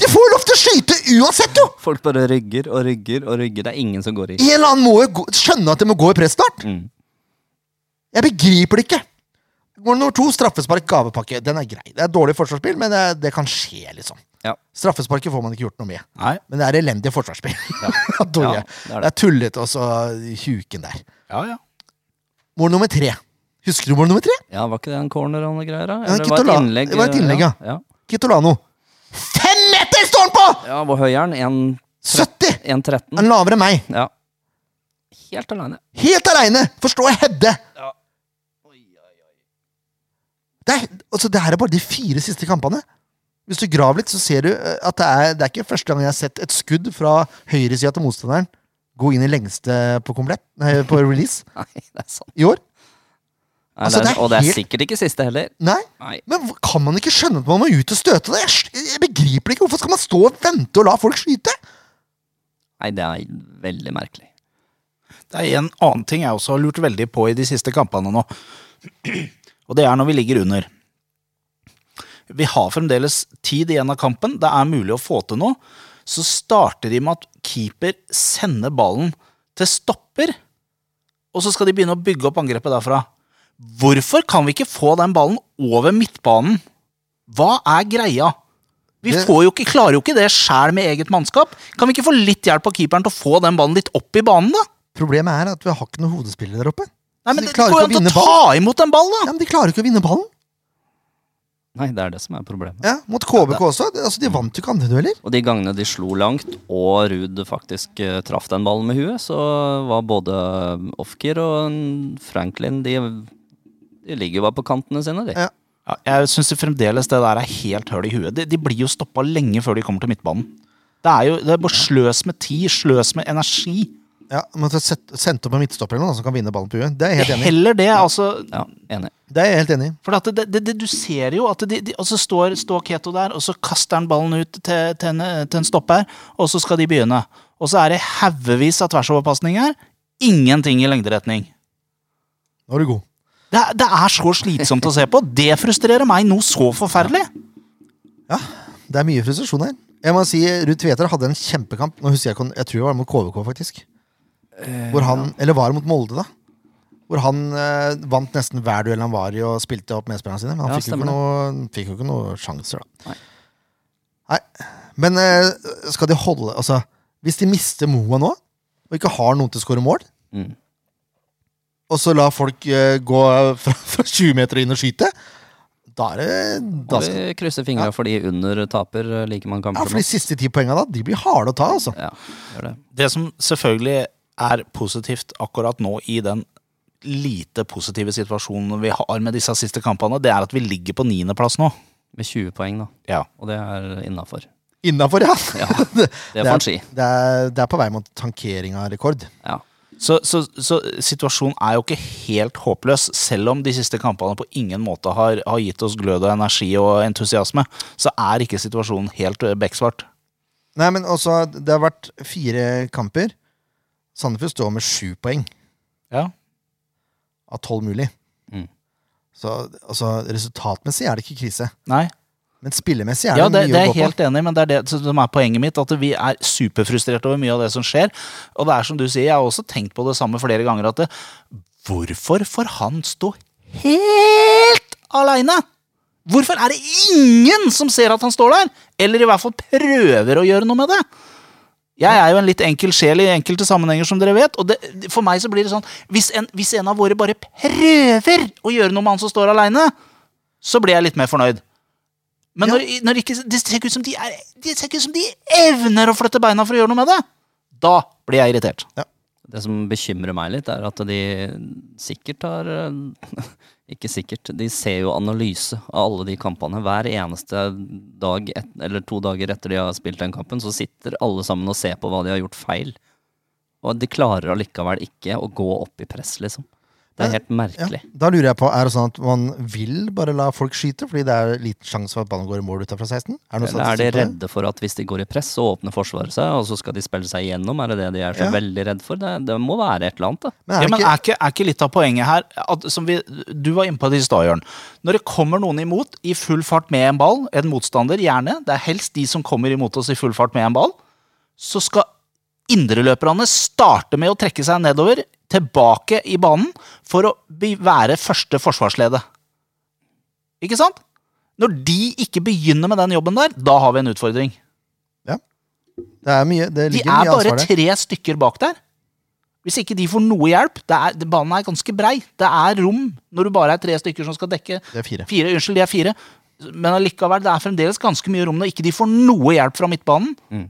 [SPEAKER 2] De får jo lov til å skyte uansett, jo!
[SPEAKER 3] Folk bare rygger og rygger og rygger. Det er ingen som går i.
[SPEAKER 2] En eller annen må jo gå- skjønne at de må gå i press snart.
[SPEAKER 3] Mm.
[SPEAKER 2] Jeg begriper det ikke. Mål nummer to, straffespark, gavepakke. Den er grei. Det er dårlig forsvarsspill, men det, det kan skje, liksom.
[SPEAKER 3] Ja.
[SPEAKER 2] Straffesparket får man ikke gjort noe med.
[SPEAKER 1] Nei.
[SPEAKER 2] Men det er elendig forsvarsspill. Dårlig.
[SPEAKER 3] Ja, det er det.
[SPEAKER 2] det er tullete også, huken der.
[SPEAKER 1] Ja, ja.
[SPEAKER 2] Mål nummer tre. Husker du mål nummer tre?
[SPEAKER 3] Ja, var ikke det en corner og noe greier? da?
[SPEAKER 2] Ja,
[SPEAKER 3] Eller det var et
[SPEAKER 2] Kittola-
[SPEAKER 3] innlegg? eh,
[SPEAKER 2] det var et innlegg, ja.
[SPEAKER 3] Ja,
[SPEAKER 2] Kitolano. Fem meter står han på!
[SPEAKER 3] ja hvor høy er han? 1
[SPEAKER 2] 70!
[SPEAKER 3] 1,13?
[SPEAKER 2] Han er lavere enn meg.
[SPEAKER 3] Ja. Helt aleine.
[SPEAKER 2] Helt aleine! Forstår jeg Hedde. Det, er, altså, det her er bare de fire siste kampene. Hvis du graver litt, så ser du eh, at det er, det er ikke første gang jeg har sett et skudd fra høyresida til motstanderen gå inn i lengste på komplett, nei, på release
[SPEAKER 3] Nei, det er sant.
[SPEAKER 2] i år.
[SPEAKER 3] Nei,
[SPEAKER 2] Altså,
[SPEAKER 3] det
[SPEAKER 2] det
[SPEAKER 3] er,
[SPEAKER 2] er
[SPEAKER 3] og det er
[SPEAKER 2] helt-
[SPEAKER 3] sikkert ikke siste heller.
[SPEAKER 2] Nei,
[SPEAKER 3] Nei.
[SPEAKER 2] men hva- kan man ikke skjønne at man må ut og støte det? Jeg, skj- jeg begriper det ikke. Hvorfor skal man stå og vente og la folk skyte?
[SPEAKER 3] Nei, det er veldig merkelig.
[SPEAKER 1] Det er en annen ting jeg også har lurt veldig på i de siste kampene nå. Og det er når vi ligger under. Vi har fremdeles tid igjen av kampen. Det er mulig å få til noe. Så starter de med at keeper sender ballen til stopper, og så skal de begynne å bygge opp angrepet derfra. Hvorfor kan vi ikke få den ballen over midtbanen? Hva er greia? Vi
[SPEAKER 2] Det-
[SPEAKER 1] får jo ikke, klarer jo ikke det sjæl med eget mannskap. Kan vi ikke få litt hjelp av keeperen til å få den ballen litt opp i banen, da?
[SPEAKER 2] Problemet er at vi har ikke noen hodespillere der oppe.
[SPEAKER 1] Nei, men
[SPEAKER 2] Så de
[SPEAKER 1] det
[SPEAKER 2] klarer
[SPEAKER 1] går jo
[SPEAKER 2] ikke å
[SPEAKER 1] an
[SPEAKER 2] vinne
[SPEAKER 1] til å ta imot en ball,
[SPEAKER 2] Ja,
[SPEAKER 1] da!
[SPEAKER 2] men De klarer ikke å vinne ballen.
[SPEAKER 3] Nei, det er det som er problemet.
[SPEAKER 2] Ja, Mot KBK også. Det- Altså, De vant jo ikke andre dueller.
[SPEAKER 3] Og de gangene de slo langt, og Ruud faktisk eh, traff den ballen med huet, så var både Ofker og Franklin De, de ligger jo bare på kantene sine, de.
[SPEAKER 2] Ja.
[SPEAKER 1] Ja, jeg syns fremdeles det der er helt høl i huet. De, de blir jo stoppa lenge før de kommer til midtbanen. Det er jo det er bare sløs med tid, sløs med energi.
[SPEAKER 2] Ja, Man skal sette- sende opp en midtstopper eller noe som kan vinne ballen på huet. Det er jeg helt enig i.
[SPEAKER 1] Heller det, altså.
[SPEAKER 3] Ja, enig.
[SPEAKER 2] Det er jeg helt enig i.
[SPEAKER 1] For at det, det, det, du ser jo at de, de og så står, står Keto der, og så kaster han ballen ut til, til, en, til en stopper, og så skal de begynne. Og så er det haugevis av tversoverpasninger. Ingenting i lengderetning.
[SPEAKER 2] Nå er du god.
[SPEAKER 1] Det, er- det er så slitsomt å se på. Det frustrerer meg noe så forferdelig.
[SPEAKER 2] Det er mye frustrasjon her. Jeg må si, Ruud Tveter hadde en kjempekamp. Nå husker Jeg ikke, om- jeg tror det var mot KVK, faktisk.
[SPEAKER 3] Eh,
[SPEAKER 2] Hvor han, Eller var det mot Molde, da? Hvor han eh, vant nesten hver duell han var i og spilte opp medspillerne sine. Men han
[SPEAKER 3] Ja,
[SPEAKER 2] fikk, jo
[SPEAKER 3] stemmer
[SPEAKER 2] ikke noe, fikk jo ikke noe sjanser, da.
[SPEAKER 3] Nei.
[SPEAKER 2] Nei. Men eh, skal de holde Altså, hvis de mister Moa nå, og ikke har noen til å skåre mål,
[SPEAKER 3] Mm.
[SPEAKER 2] og så lar folk eh, gå fra, fra 20 meter og inn og skyte, da er det da
[SPEAKER 3] Og
[SPEAKER 2] skal,
[SPEAKER 3] vi krysser fingra for de under taper, eh, like man
[SPEAKER 2] Ja,
[SPEAKER 3] kamper
[SPEAKER 2] for de siste ti poengene da, de blir harde å ta, altså.
[SPEAKER 3] Ja, gjør det.
[SPEAKER 1] Det som selvfølgelig er positivt akkurat nå i den lite positive situasjonen vi har med disse siste kampene, det er at vi ligger på niendeplass nå.
[SPEAKER 3] Med 20 poeng, da.
[SPEAKER 1] Ja.
[SPEAKER 3] Og det er innafor.
[SPEAKER 2] Innafor, ja.
[SPEAKER 3] Ja,
[SPEAKER 2] det,
[SPEAKER 3] det får en si.
[SPEAKER 2] det, er, det er på vei mot tankering av rekord.
[SPEAKER 3] Ja.
[SPEAKER 1] Så, så, så situasjonen er jo ikke helt håpløs, selv om de siste kampene på ingen måte har, har gitt oss glød og energi og entusiasme, så er ikke situasjonen helt eh, beksvart.
[SPEAKER 2] Nei, men også, det har vært fire kamper. Sandefjord står med sju poeng
[SPEAKER 1] Ja.
[SPEAKER 2] av tolv mulig.
[SPEAKER 3] Mm.
[SPEAKER 2] Så altså, resultatmessig er det ikke krise.
[SPEAKER 1] Nei.
[SPEAKER 2] Men spillemessig er
[SPEAKER 1] Ja,
[SPEAKER 2] det
[SPEAKER 1] det,
[SPEAKER 2] mye
[SPEAKER 1] det er
[SPEAKER 2] å
[SPEAKER 1] jeg
[SPEAKER 2] gå
[SPEAKER 1] helt enig, i, men det er det som er poenget mitt. At vi er superfrustrert over mye av det som skjer. Og det er som du sier, jeg har også tenkt på det samme flere ganger, at det, hvorfor får han stå helt aleine? Hvorfor er det ingen som ser at han står der? Eller i hvert fall prøver å gjøre noe med det? Jeg er jo en litt enkel sjel i enkelte sammenhenger, som dere vet. Og det, for meg så blir det sånn hvis en, hvis en av våre bare prøver å gjøre noe med han som står aleine, så blir jeg litt mer fornøyd. Men når, når ikke, det ser ikke ut som de er, det ser ikke ut som de evner å flytte beina for å gjøre noe med det, da blir jeg irritert.
[SPEAKER 3] Det som bekymrer meg litt, er at de sikkert har eh, Ikke sikkert. De ser jo analyse av alle de kampene. Hver eneste dag et, eller to dager etter de har spilt den kampen, så sitter alle sammen og ser på hva de har gjort feil. Og de klarer allikevel ikke å gå opp i press, liksom. Det er helt
[SPEAKER 2] på. Ja.
[SPEAKER 3] merkelig.
[SPEAKER 2] Da lurer jeg på, er det sånn at man vil bare la folk skyte, fordi det er liten sjanse for at ballen går i mål utenfor 16? Er det noe
[SPEAKER 3] Eller er de
[SPEAKER 2] statistikk på det?
[SPEAKER 3] redde for at hvis de går i press, så åpner Forsvaret seg, og så skal de spille seg igjennom? Er det det de er så
[SPEAKER 2] Ja.
[SPEAKER 3] veldig redd for? Det, det må være et eller annet, da.
[SPEAKER 2] Men
[SPEAKER 1] Ja,
[SPEAKER 2] er det
[SPEAKER 1] men
[SPEAKER 2] ikke,
[SPEAKER 1] er ikke, er ikke litt av poenget her at, som vi, Du var inne på det i stad, Jørn. Når det kommer noen imot i full fart med en ball, en motstander gjerne, det er helst de som kommer imot oss i full fart med en ball, så skal indreløperne starte med å trekke seg nedover, tilbake i banen, for å be være første forsvarsleddet. Ikke sant? Når de ikke begynner med den jobben der, da har vi en utfordring.
[SPEAKER 2] det er mye, det
[SPEAKER 1] De
[SPEAKER 2] ligger
[SPEAKER 1] er
[SPEAKER 2] mye
[SPEAKER 1] bare
[SPEAKER 2] ansvar der.
[SPEAKER 1] tre stykker bak der. Hvis ikke de får noe hjelp det er, det- Banen er ganske brei. Det er rom når du bare er tre stykker som skal dekke
[SPEAKER 2] Det er fire.
[SPEAKER 1] fire. Unnskyld, de er fire. Men allikevel, det er fremdeles ganske mye rom når ikke de får noe hjelp fra midtbanen.
[SPEAKER 3] Mm.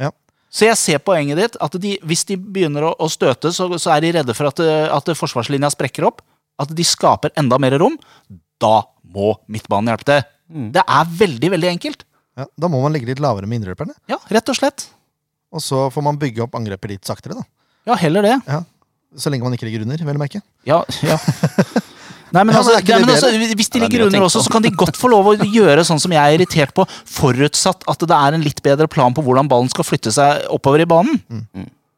[SPEAKER 2] Ja.
[SPEAKER 1] Så jeg ser poenget ditt. At de, hvis de begynner å, å støte, så, så er de redde for at, eh, at forsvarslinja sprekker opp. at de skaper enda mer rom, da må midtbanen hjelpe til.
[SPEAKER 2] Mm.
[SPEAKER 1] Det er veldig, veldig enkelt.
[SPEAKER 2] Ja, da må man ligge litt lavere med innløperne.
[SPEAKER 1] Ja, rett og slett.
[SPEAKER 2] Og så får man bygge opp angrepet litt saktere, da.
[SPEAKER 1] Ja, heller det.
[SPEAKER 2] Ja. Så lenge man ikke ligger under, vel å merke.
[SPEAKER 1] Ja, ja. Nei, men
[SPEAKER 2] Ja, men
[SPEAKER 1] altså,
[SPEAKER 2] er ikke
[SPEAKER 1] nei,
[SPEAKER 2] det
[SPEAKER 1] men altså, hvis de
[SPEAKER 3] Ja, det er
[SPEAKER 1] ligger
[SPEAKER 3] mye å
[SPEAKER 1] under
[SPEAKER 3] tenke
[SPEAKER 1] også,
[SPEAKER 3] på.
[SPEAKER 1] så kan de godt få lov å gjøre sånn som jeg er irritert på, forutsatt at det er en litt bedre plan på hvordan ballen skal flytte seg oppover i banen.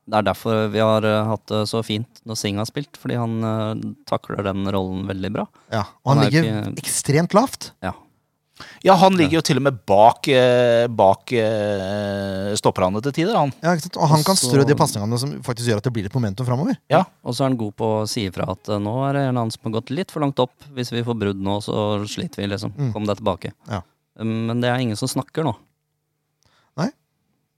[SPEAKER 3] Det er derfor vi har eh, hatt det så fint når Singh har spilt, fordi han eh, takler den rollen veldig bra.
[SPEAKER 2] Ja. Og han
[SPEAKER 3] Han er
[SPEAKER 2] ligger
[SPEAKER 3] ikke-
[SPEAKER 2] ekstremt lavt.
[SPEAKER 3] Ja.
[SPEAKER 1] Ja, han ligger jo til og med bak, eh, bak eh, stopperne til tider, han.
[SPEAKER 2] Ja, ikke sant? Og han kan
[SPEAKER 3] Så-
[SPEAKER 2] strø de pasningene som faktisk gjør at det blir litt momentum framover.
[SPEAKER 1] Ja.
[SPEAKER 3] Og så er han god på å si ifra at eh, nå er det en annen som har gått litt for langt opp. Hvis vi får brudd nå, så sliter vi, liksom. Kom deg tilbake.
[SPEAKER 2] Mm. Ja.
[SPEAKER 3] Um, Men det er ingen som snakker nå,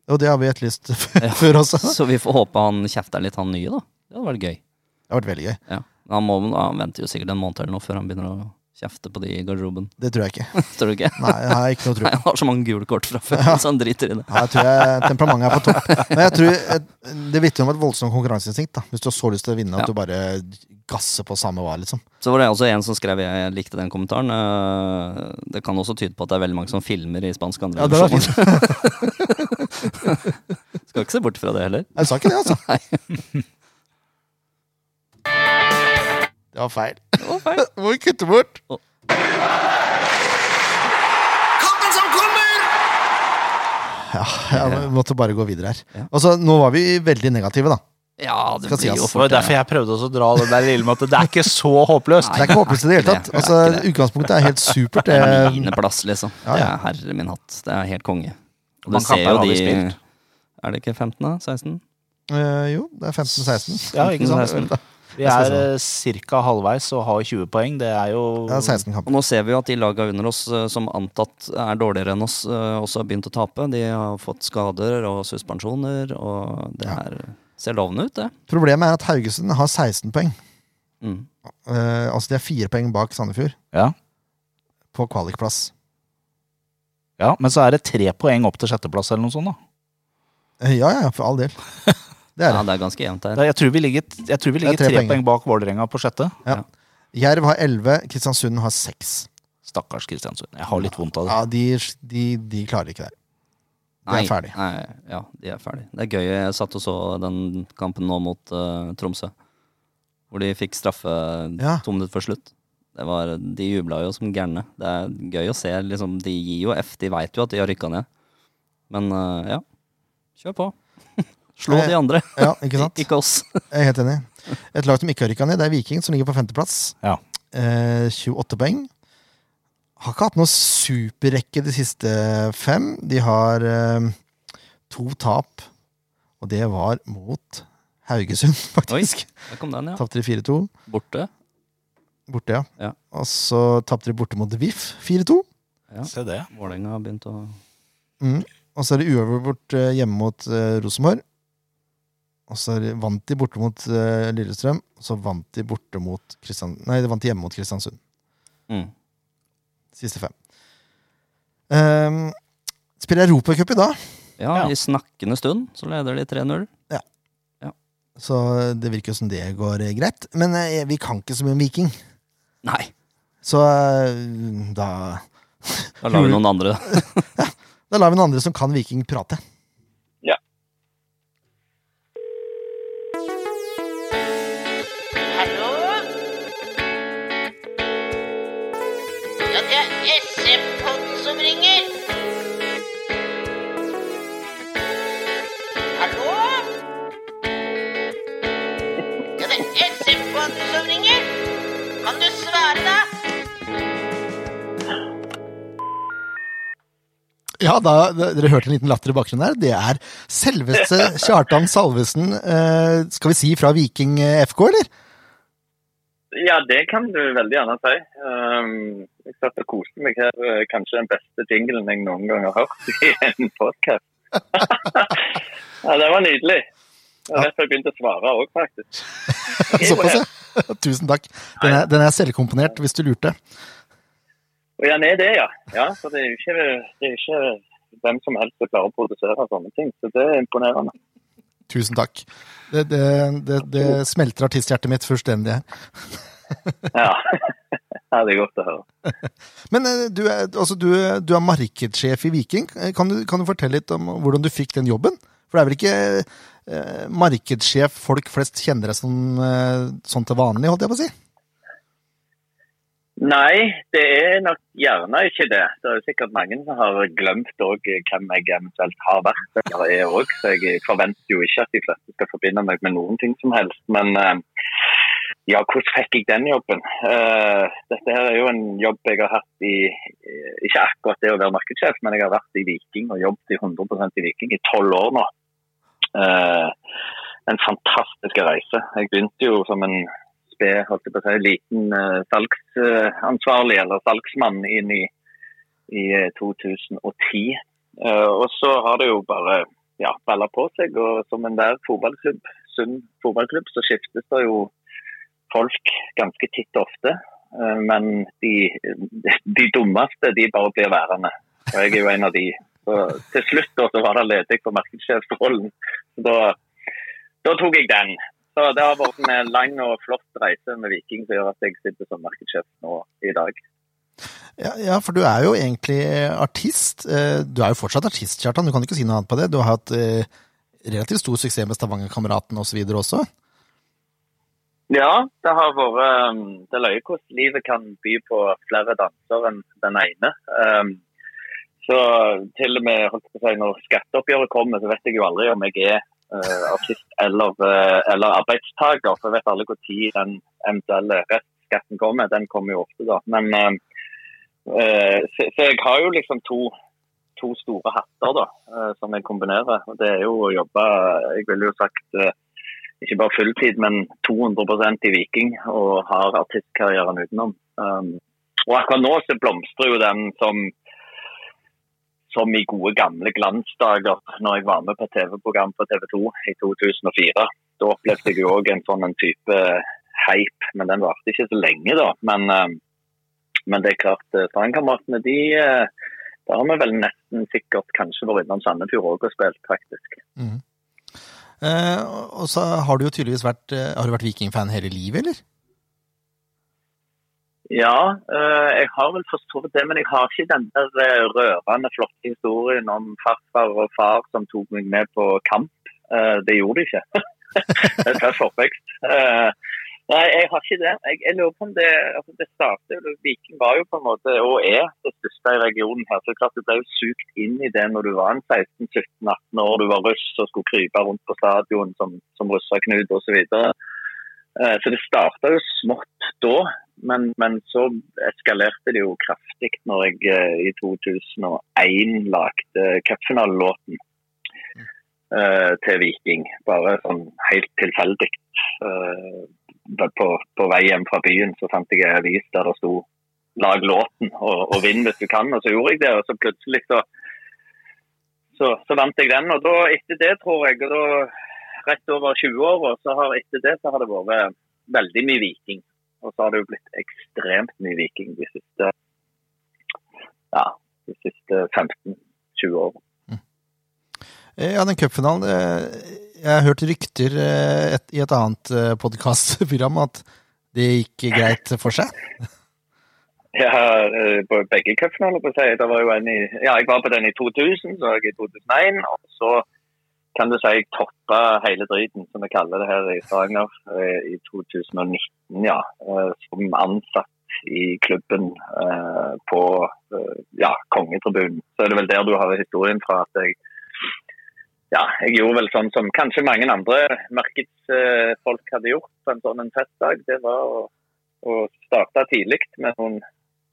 [SPEAKER 2] Og det har vi etterlyst
[SPEAKER 3] Ja.
[SPEAKER 2] før også. Det
[SPEAKER 3] så vi får håpe han kjefter litt, han nye, da. Det hadde vært gøy.
[SPEAKER 2] har vært veldig gøy.
[SPEAKER 3] Ja. Men Han, må, han venter jo sikkert en måned eller noe før han begynner å kjefte på de i garderoben.
[SPEAKER 2] Det tror jeg ikke.
[SPEAKER 3] Tror du ikke?
[SPEAKER 2] Nei, jeg har ikke noe tro
[SPEAKER 3] Nei,
[SPEAKER 2] på.
[SPEAKER 3] han har så mange gule kort fra før, så han driter i det.
[SPEAKER 2] Ja, jeg tror jeg temperamentet er på topp. Men jeg tror eh, det vitner om et voldsomt konkurranseinstinkt. da Hvis du har så lyst til å vinne at
[SPEAKER 3] Ja.
[SPEAKER 2] du bare gasser på samme hva, liksom.
[SPEAKER 3] Så var det også en som skrev Jeg likte den kommentaren. eh, Det kan også tyde på at det er veldig mange som filmer i spansk andre
[SPEAKER 2] Ja, det var
[SPEAKER 3] divisjon. Skal ikke se bort fra det heller.
[SPEAKER 2] Jeg sa ikke det, altså.
[SPEAKER 3] Nei.
[SPEAKER 2] Det var feil.
[SPEAKER 3] Det var feil.
[SPEAKER 2] Må vi kutte bort.
[SPEAKER 4] Kampen som kommer!
[SPEAKER 2] Ja, vi måtte bare gå videre her.
[SPEAKER 3] Ja.
[SPEAKER 2] Altså, Nå var vi veldig negative, da.
[SPEAKER 3] Ja, det
[SPEAKER 2] Skal si,
[SPEAKER 3] blir jo
[SPEAKER 1] Det var
[SPEAKER 2] ass.
[SPEAKER 3] fort
[SPEAKER 1] jo derfor jeg prøvde også å dra den der lille med at det er ikke så håpløst.
[SPEAKER 2] Det er ikke håpløst i det hele tatt.
[SPEAKER 3] det er
[SPEAKER 2] Altså,
[SPEAKER 3] ikke det.
[SPEAKER 2] Utgangspunktet er helt supert. Eh,
[SPEAKER 3] en
[SPEAKER 2] Det,
[SPEAKER 3] mineplass, liksom.
[SPEAKER 2] Ja,
[SPEAKER 3] Det
[SPEAKER 2] ja.
[SPEAKER 3] er herre min hatt. Det er helt konge. Og
[SPEAKER 1] Hvor
[SPEAKER 3] du
[SPEAKER 1] mange
[SPEAKER 3] ser jo
[SPEAKER 1] kamper har vi
[SPEAKER 3] de
[SPEAKER 1] spilt?
[SPEAKER 3] Er det ikke 15, da? 16?
[SPEAKER 2] Eh, jo, det er 15-16.
[SPEAKER 1] Ja, ikke sant?
[SPEAKER 3] 16.
[SPEAKER 1] Vi er ca. halvveis og har 20 poeng. Det er jo
[SPEAKER 2] Det er 16 kamper.
[SPEAKER 3] Og nå ser vi jo at de laga under oss eh, som antatt er dårligere enn oss, eh, også har begynt å tape. De har fått skader og suspensjoner, og det
[SPEAKER 2] Ja.
[SPEAKER 3] her ser lovende ut, det.
[SPEAKER 2] Problemet er at Haugesund har 16 poeng.
[SPEAKER 3] Mm.
[SPEAKER 2] Eh, altså De er fire poeng bak Sandefjord
[SPEAKER 1] Ja.
[SPEAKER 2] på kvalikplass.
[SPEAKER 1] ja, men så er det tre poeng opp til sjetteplass eller noe sånt, da.
[SPEAKER 2] Eh, ja, ja, for all del. Det er
[SPEAKER 3] Ja,
[SPEAKER 2] det.
[SPEAKER 3] det er ganske jevnt her.
[SPEAKER 1] Ja, Jeg tror vi ligger, jeg tror vi
[SPEAKER 2] Det er
[SPEAKER 1] ligger
[SPEAKER 2] tre
[SPEAKER 1] tre
[SPEAKER 2] poeng.
[SPEAKER 1] poeng bak Vålerenga på sjette.
[SPEAKER 2] Jerv har 11, Kristiansund har 6.
[SPEAKER 1] Stakkars Kristiansund. Jeg har litt vondt av det.
[SPEAKER 2] Ja, de, de, de klarer ikke det. De er ferdig.
[SPEAKER 3] Nei, ja, de er ferdig. Det er gøy. Jeg satt og så den kampen nå mot eh, Tromsø. Hvor de fikk straffe
[SPEAKER 2] Ja.
[SPEAKER 3] to minutter før slutt. Det var, de jubla jo som gærne. Det er gøy å se. Liksom, de gir jo F. De veit jo at de har rykka ned. Men eh, ja, kjør på. Slå
[SPEAKER 2] Eh,
[SPEAKER 3] de andre,
[SPEAKER 2] Ja, ikke sant?
[SPEAKER 3] ikke oss.
[SPEAKER 2] Jeg er helt enig. Et lag som ikke har rykka ned, det er Viking, som ligger på femteplass.
[SPEAKER 1] Ja.
[SPEAKER 2] Eh, 28 poeng. Har ikke hatt noe superrekke de siste fem. De har eh, to tap, og det var mot Haugesund,
[SPEAKER 3] Oi,
[SPEAKER 2] faktisk.
[SPEAKER 3] der kom den, ja.
[SPEAKER 2] Tapte de 4-2.
[SPEAKER 3] Borte.
[SPEAKER 2] Borte, ja.
[SPEAKER 3] Ja.
[SPEAKER 2] Og så tapte de borte mot VIF 4-2.
[SPEAKER 1] Se det.
[SPEAKER 3] Vålerenga har begynt å
[SPEAKER 2] Mm. Og så er det uavgjort eh, hjemme mot eh, Rosenborg. Og så er det- vant de borte mot eh, Lillestrøm, og så vant de borte mot Kristian... Nei, de vant de hjemme mot Kristiansund.
[SPEAKER 3] Mm.
[SPEAKER 2] Siste fem. Um, spiller Europacup i dag,
[SPEAKER 3] Ja,
[SPEAKER 1] Ja.
[SPEAKER 3] i snakkende stund så leder de 3-0.
[SPEAKER 2] så det virker jo som det går eh, greit. Men eh, vi kan ikke så mye om Viking,
[SPEAKER 3] Nei!
[SPEAKER 2] så eh, da,
[SPEAKER 3] Da lar vi noen andre
[SPEAKER 2] da lar vi noen andre som kan Viking, prate.
[SPEAKER 5] Hallo? Ja, det er SF-podden som ringer. Hallo? Ja, det er SF-podden som ringer. Kan du svare, da?
[SPEAKER 2] Ja, da, Dere hørte en liten latter i bakgrunnen her. Det er selveste Kjartan Salvesen, eh, skal vi si fra Viking eh, FK, eller?
[SPEAKER 6] Ja, det kan du veldig gjerne si. Ehm, jeg satt og koste meg her. eh, Kanskje den beste jinglen jeg noen gang har hørt i en podkast. ja, det var nydelig. Det var Rett før jeg begynte å svare òg, faktisk.
[SPEAKER 2] Såpass, ja. Tusen takk. Den er, den er selvkomponert, hvis du lurte.
[SPEAKER 6] Og ja, nei, det, ja. ja for det er jo ikke, det er ikke hvem som helst som klarer å produsere sånne ting, så det er imponerende.
[SPEAKER 2] Tusen takk. Det, det, det, det smelter artisthjertet mitt fullstendig her.
[SPEAKER 6] Ja. ja, det er godt å høre.
[SPEAKER 2] Men eh, du er, altså, du, du er markedssjef i Viking. Eh, Kan du, kan du fortelle litt om hvordan du fikk den jobben? For det er vel ikke eh, markedssjef folk flest kjenner deg som eh, sånn til vanlig, holdt jeg på å si?
[SPEAKER 6] Nei, det er nok gjerne ikke det. Det er jo sikkert mange som har glemt òg hvem jeg eventuelt har vært eller er òg, så jeg forventer jo ikke at de fleste skal forbinde meg med noen ting som helst. Men eh, ja, hvordan fikk jeg den jobben? Eh, Dette her er jo en jobb jeg har hatt i eh, Ikke akkurat det å være markedssjef, men jeg har vært i Viking og jobbet i 100 i Viking i tolv år nå. Eh, En fantastisk reise. Jeg begynte jo som en sped, holdt jeg på å si, liten eh, salgsansvarlig eller salgsmann inn i, i eh, 2010. Eh, og så har det jo bare ja, balla på seg, og som enhver fotballklubb, sunn fotballklubb, så skiftes det jo folk ganske titt og ofte. Eh, men de, de dummeste, de bare blir værende. Og jeg er jo en av de. Så til slutt da, så var det ledig på markedssjefrollen. Så Da, da tok jeg den. Så det har vært en lang og flott reise med Viking som gjør at jeg sitter som markedssjef nå i dag.
[SPEAKER 2] Ja, ja, for du er jo egentlig artist. Eh, Du er jo fortsatt artist, Kjartan. Du kan ikke si noe annet på det. Du har hatt eh, relativt stor suksess med Stavangerkameratene osv. også.
[SPEAKER 6] Ja, det har vært um, Det er løye hvordan livet kan by på flere danser enn den ene. Um, så til og med holdt jeg på å si, når skatteoppgjøret kommer, så vet jeg jo aldri om jeg er eh, artist eller, eh, eller arbeidstaker. For jeg vet alle når den eventuelle restskatten kommer. Den kommer jo ofte, da. Men eh, eh, så, så jeg har jo liksom to to store hatter da, eh, som jeg kombinerer. Og Det er jo å jobbe Jeg ville jo sagt eh, ikke bare fulltid, men 200 i Viking og har artistkarrieren utenom. Um, og akkurat nå så blomstrer jo den som, som i gode gamle glansdager, når jeg var med på TV-program på TV 2 i 2004. Da opplevde jeg jo òg en sånn en type hype, men den varte ikke så lenge, da. Men, um, men det er klart, eh, Strandkameratene, de eh, Der har vi vel nesten sikkert kanskje vært innom Sandefjord òg og spilt, faktisk.
[SPEAKER 2] Eh, og- Og så har du jo tydeligvis vært, eh, har du vært vikingfan hele livet, eller?
[SPEAKER 6] Ja, eh, jeg har vel forstått det, men jeg har ikke den der eh, rørende flotte historien om farfar og far som tok meg med på kamp. Eh, det gjorde de ikke. det er tøff oppvekst. Eh, nei, jeg har ikke det. Jeg, jeg lurer på om det altså det startet jo- Viking var jo på en måte, og er, det største i regionen her. Så det er klart Du ble jo sugt inn i det når du var en 16-17-18 år, du var russ og skulle krype rundt på stadion som, som russerknut osv. Eh, Så det starta jo smått da, men, men så eskalerte det jo kraftig når jeg eh, i 2001 lagde cupfinalelåten eh, til Viking. Bare sånn helt tilfeldig. Eh, på, på vei hjem fra byen så fant jeg en avis der det sto 'lag låten og, og vinn hvis du kan', og så gjorde jeg det. Og så plutselig så, så, så vant jeg den. Og da, etter det, tror jeg, og da rett over 20-åra, så har etter det så har det vært veldig mye Viking. Og så har det jo blitt ekstremt mye Viking de siste ja, de siste 15-20 årene.
[SPEAKER 2] Eh, Ja, den cupfinalen eh, Jeg har hørt rykter eh, et, i et annet podkastprogram at det gikk greit for seg.
[SPEAKER 6] Jeg har eh, på begge cupfinaler på seg. Det var jo en i, ja, jeg var på den i 2000, så var jeg i 2001. Og så kan du si jeg toppa hele driten, som vi kaller det her i Stavanger, eh, i 2019. ja, eh, Som ansatt i klubben eh, på eh, ja, kongetribunen. Så er det vel der du har historien fra at jeg ja, jeg gjorde vel sånn som kanskje mange andre markedsfolk hadde gjort på en sånn en festdag. Det var å, å starte tidlig med noen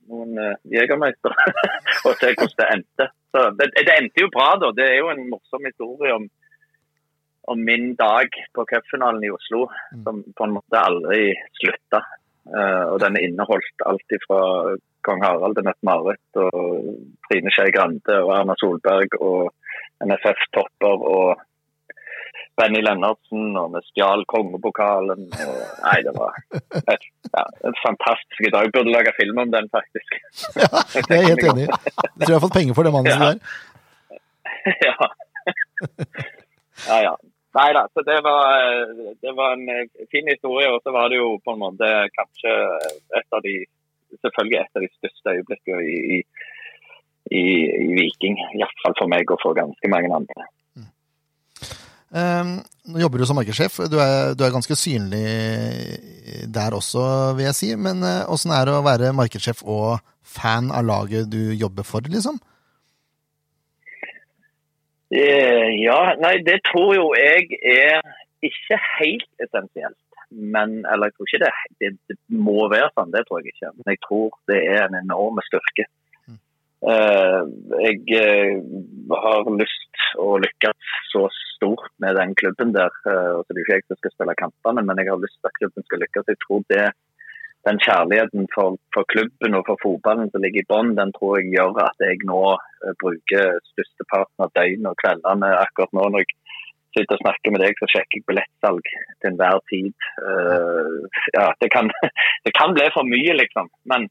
[SPEAKER 6] noen uh, jegermeister og se hvordan det endte. Så det, det endte jo bra, da. Det er jo en morsom historie om, om min dag på cupfinalen i Oslo, som på en måte aldri slutta. Eh, og den inneholdt alt fra kong Harald til Mette-Marit og Trine Skei Grande og Erna Solberg og NFF-topper og Benny Lennartsen, og vi stjal kongepokalen. Og, nei, det var et, ja, en fantastisk dag. Jeg burde lage film om den, faktisk.
[SPEAKER 2] Ja, det er jeg helt enig i. Jeg tror jeg har fått penger for det manuset
[SPEAKER 6] Ja.
[SPEAKER 2] der.
[SPEAKER 6] ja. ja, ja. Nei da, så det var, det var en eh, fin historie. Og så var det jo på en måte kanskje et av de Selvfølgelig et av de største øyeblikkene i, i, i, i Viking. Iallfall for meg og for ganske mange andre.
[SPEAKER 2] Ehm, Nå jobber du som markedssjef. Du er, du er ganske synlig der også, vil jeg si. Men eh, åssen er det å være markedssjef og fan av laget du jobber for, liksom?
[SPEAKER 6] Eh, Ja, nei, det tror jo jeg er ikke helt essensielt. Men, eller jeg tror ikke det, det, det må være sånn, det tror jeg ikke. Men jeg tror det er en enorm styrke. Eh, jeg eh, har lyst å lykkes så stort med den klubben der. eh, altså det er jo ikke jeg som skal spille kampene, men jeg har lyst til at klubben skal lykkes. Jeg tror det, den kjærligheten for, for klubben og for fotballen som ligger i bånn, den tror jeg gjør at jeg nå eh, bruker størsteparten av døgnet og kveldene akkurat nå når jeg sitter og snakker med deg, så sjekker jeg billettsalg til enhver tid. Eh, ja, det kan, det kan bli for mye, liksom. Men,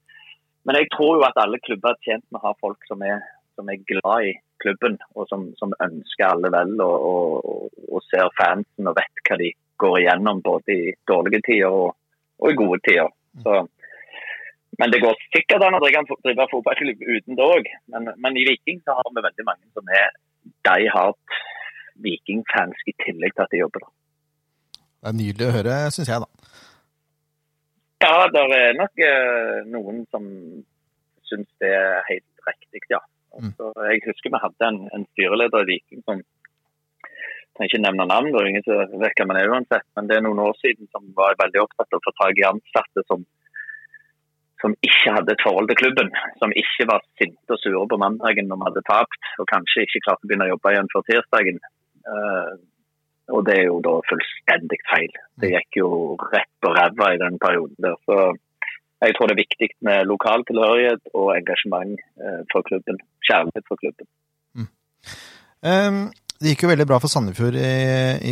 [SPEAKER 6] men jeg tror jo at alle klubber er tjent med å ha folk som er, som er glad i klubben, og som, som ønsker alle vel og, og, og, og ser fansen og vet hva de går igjennom både i dårlige tider og, og i gode tider. Så, men det går sikkert an å drive en fo- drive fotballklubb uten det òg. Men, men i Viking så har vi veldig mange som er de har vikingfans i tillegg til at de jobber der.
[SPEAKER 2] Det er nydelig å høre, syns jeg, da.
[SPEAKER 6] Ja, det er nok eh, noen som syns det er helt riktig, ja.
[SPEAKER 2] Mm.
[SPEAKER 6] Så jeg husker vi hadde en, en styreleder i Viking som jeg kan ikke nevne navn, det er ingen som vet hvem han er uansett, men det er noen år siden som var veldig opptatt av å få tak i ansatte som, som ikke hadde et forhold til klubben. Som ikke var sinte og sure på mandagen når vi hadde tapt, og kanskje ikke klarte å begynne å jobbe igjen før tirsdagen. Eh, og det er jo da fullstendig feil. Det gikk jo rett på ræva i den perioden der. Så jeg tror det er viktig med lokal tilhørighet og engasjement eh, for klubben. Kjærlighet for klubben.
[SPEAKER 2] Ehm, det gikk jo veldig bra for Sandefjord i,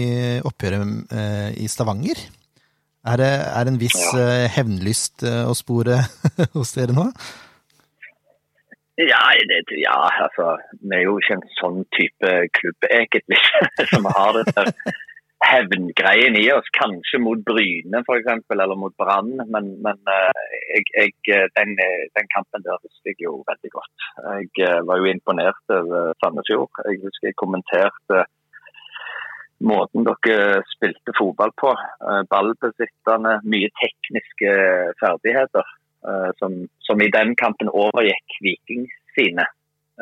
[SPEAKER 2] i oppgjøret eh, i Stavanger. Er det er en viss
[SPEAKER 6] Ja.
[SPEAKER 2] eh, hevnlyst eh, å spore hos dere nå?
[SPEAKER 6] Ja, det, ja, altså Vi er jo ikke en sånn type klubb, egentlig, som har det der hevngreien i oss. Kanskje mot Bryne, f.eks., eller mot Brann, men, men eh, jeg, jeg, eh, den, eh, den kampen der husker jeg jo veldig godt. Jeg eh, var jo imponert over Sandefjord. Jeg husker jeg kommenterte måten dere spilte fotball på. Eh, Ballbesittende, mye tekniske ferdigheter eh, som, som i den kampen overgikk Viking sine.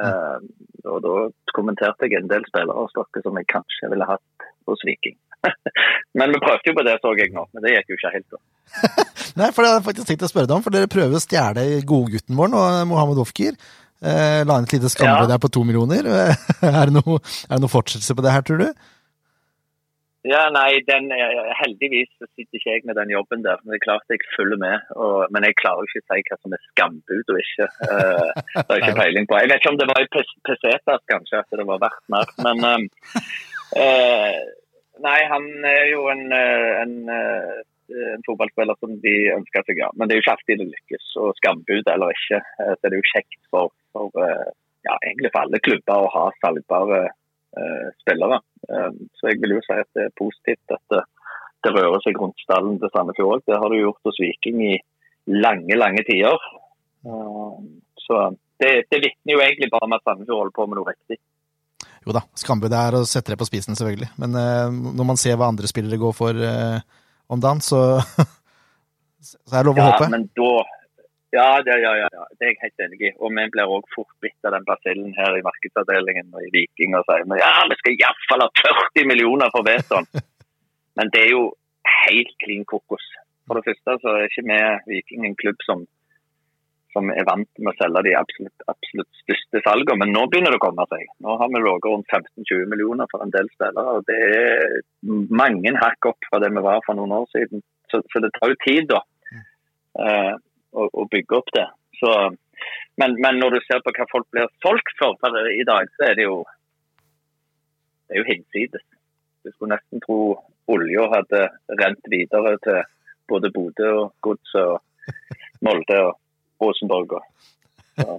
[SPEAKER 6] Eh, og da kommenterte jeg en del spillere hos dere som jeg kanskje ville hatt hos Viking. Men vi prøvde jo på det, så jeg nå. Men det gikk jo ikke helt. da.
[SPEAKER 2] Nei, for det hadde jeg faktisk tenkt å spørre deg om, for dere prøver å stjele godgutten vår nå, Mohammed Ofkir. Eh, la inn et lite skamle
[SPEAKER 6] Ja.
[SPEAKER 2] der på to millioner. er, det noe, er det noe fortsettelse på det her, tror du?
[SPEAKER 6] Ja, nei, den, eh, Heldigvis så sitter ikke jeg med den jobben der. Men det er klart jeg følger med. Og, men jeg klarer jo ikke å si hva som er skambud og ikke. Eh, det har jeg ikke peiling på. Jeg vet ikke om det var i Pes- Pesetas kanskje at det var verdt mer. Men eh, eh, nei, han er jo en, eh, en, eh, en fotballspiller som de ønsker seg, ja. Men det er jo ikke alltid det lykkes. Og skambud eller ikke, eh, så er det jo kjekt for, for eh, ja, egentlig for alle klubber å ha salgbare eh, spillere. Eh, Så jeg vil jo si at det er positivt at det, det rører seg rundt stallen til Sandefjord òg. Det har det jo gjort hos Viking i lange, lange tider. Eh, Så det, det vitner jo egentlig bare om at Sandefjord holder på med noe riktig.
[SPEAKER 2] Jo da, skambud er å sette det på spisen, selvfølgelig. Men eh, når man ser hva andre spillere går for eh, om dagen, så, så er det lov å
[SPEAKER 6] Ja,
[SPEAKER 2] håpe.
[SPEAKER 6] men da ja, det, ja, ja, ja, det er jeg helt enig i. Og vi blir òg fort bitt av den basillen her i markedsavdelingen og i Viking og sier men ja, vi skal iallfall ha 40 millioner for Veton. Men det er jo helt klin kokos. For det første så er ikke vi Viking en klubb som, som er vant med å selge de absolutt, absolutt største salgene, men nå begynner det å komme seg. Nå har vi ligget rundt 15-20 millioner for en del spillere, og det er mange hakk opp fra det vi var for noen år siden. Så, så det tar jo tid, da eh, å, å bygge opp det. Så, men, men når du ser på hva folk blir solgt for per i dag, så er det jo det er jo hinsides. Du skulle nesten tro olja hadde rent videre til både Bodø og Godset og Molde og Rosenborg. Og, så,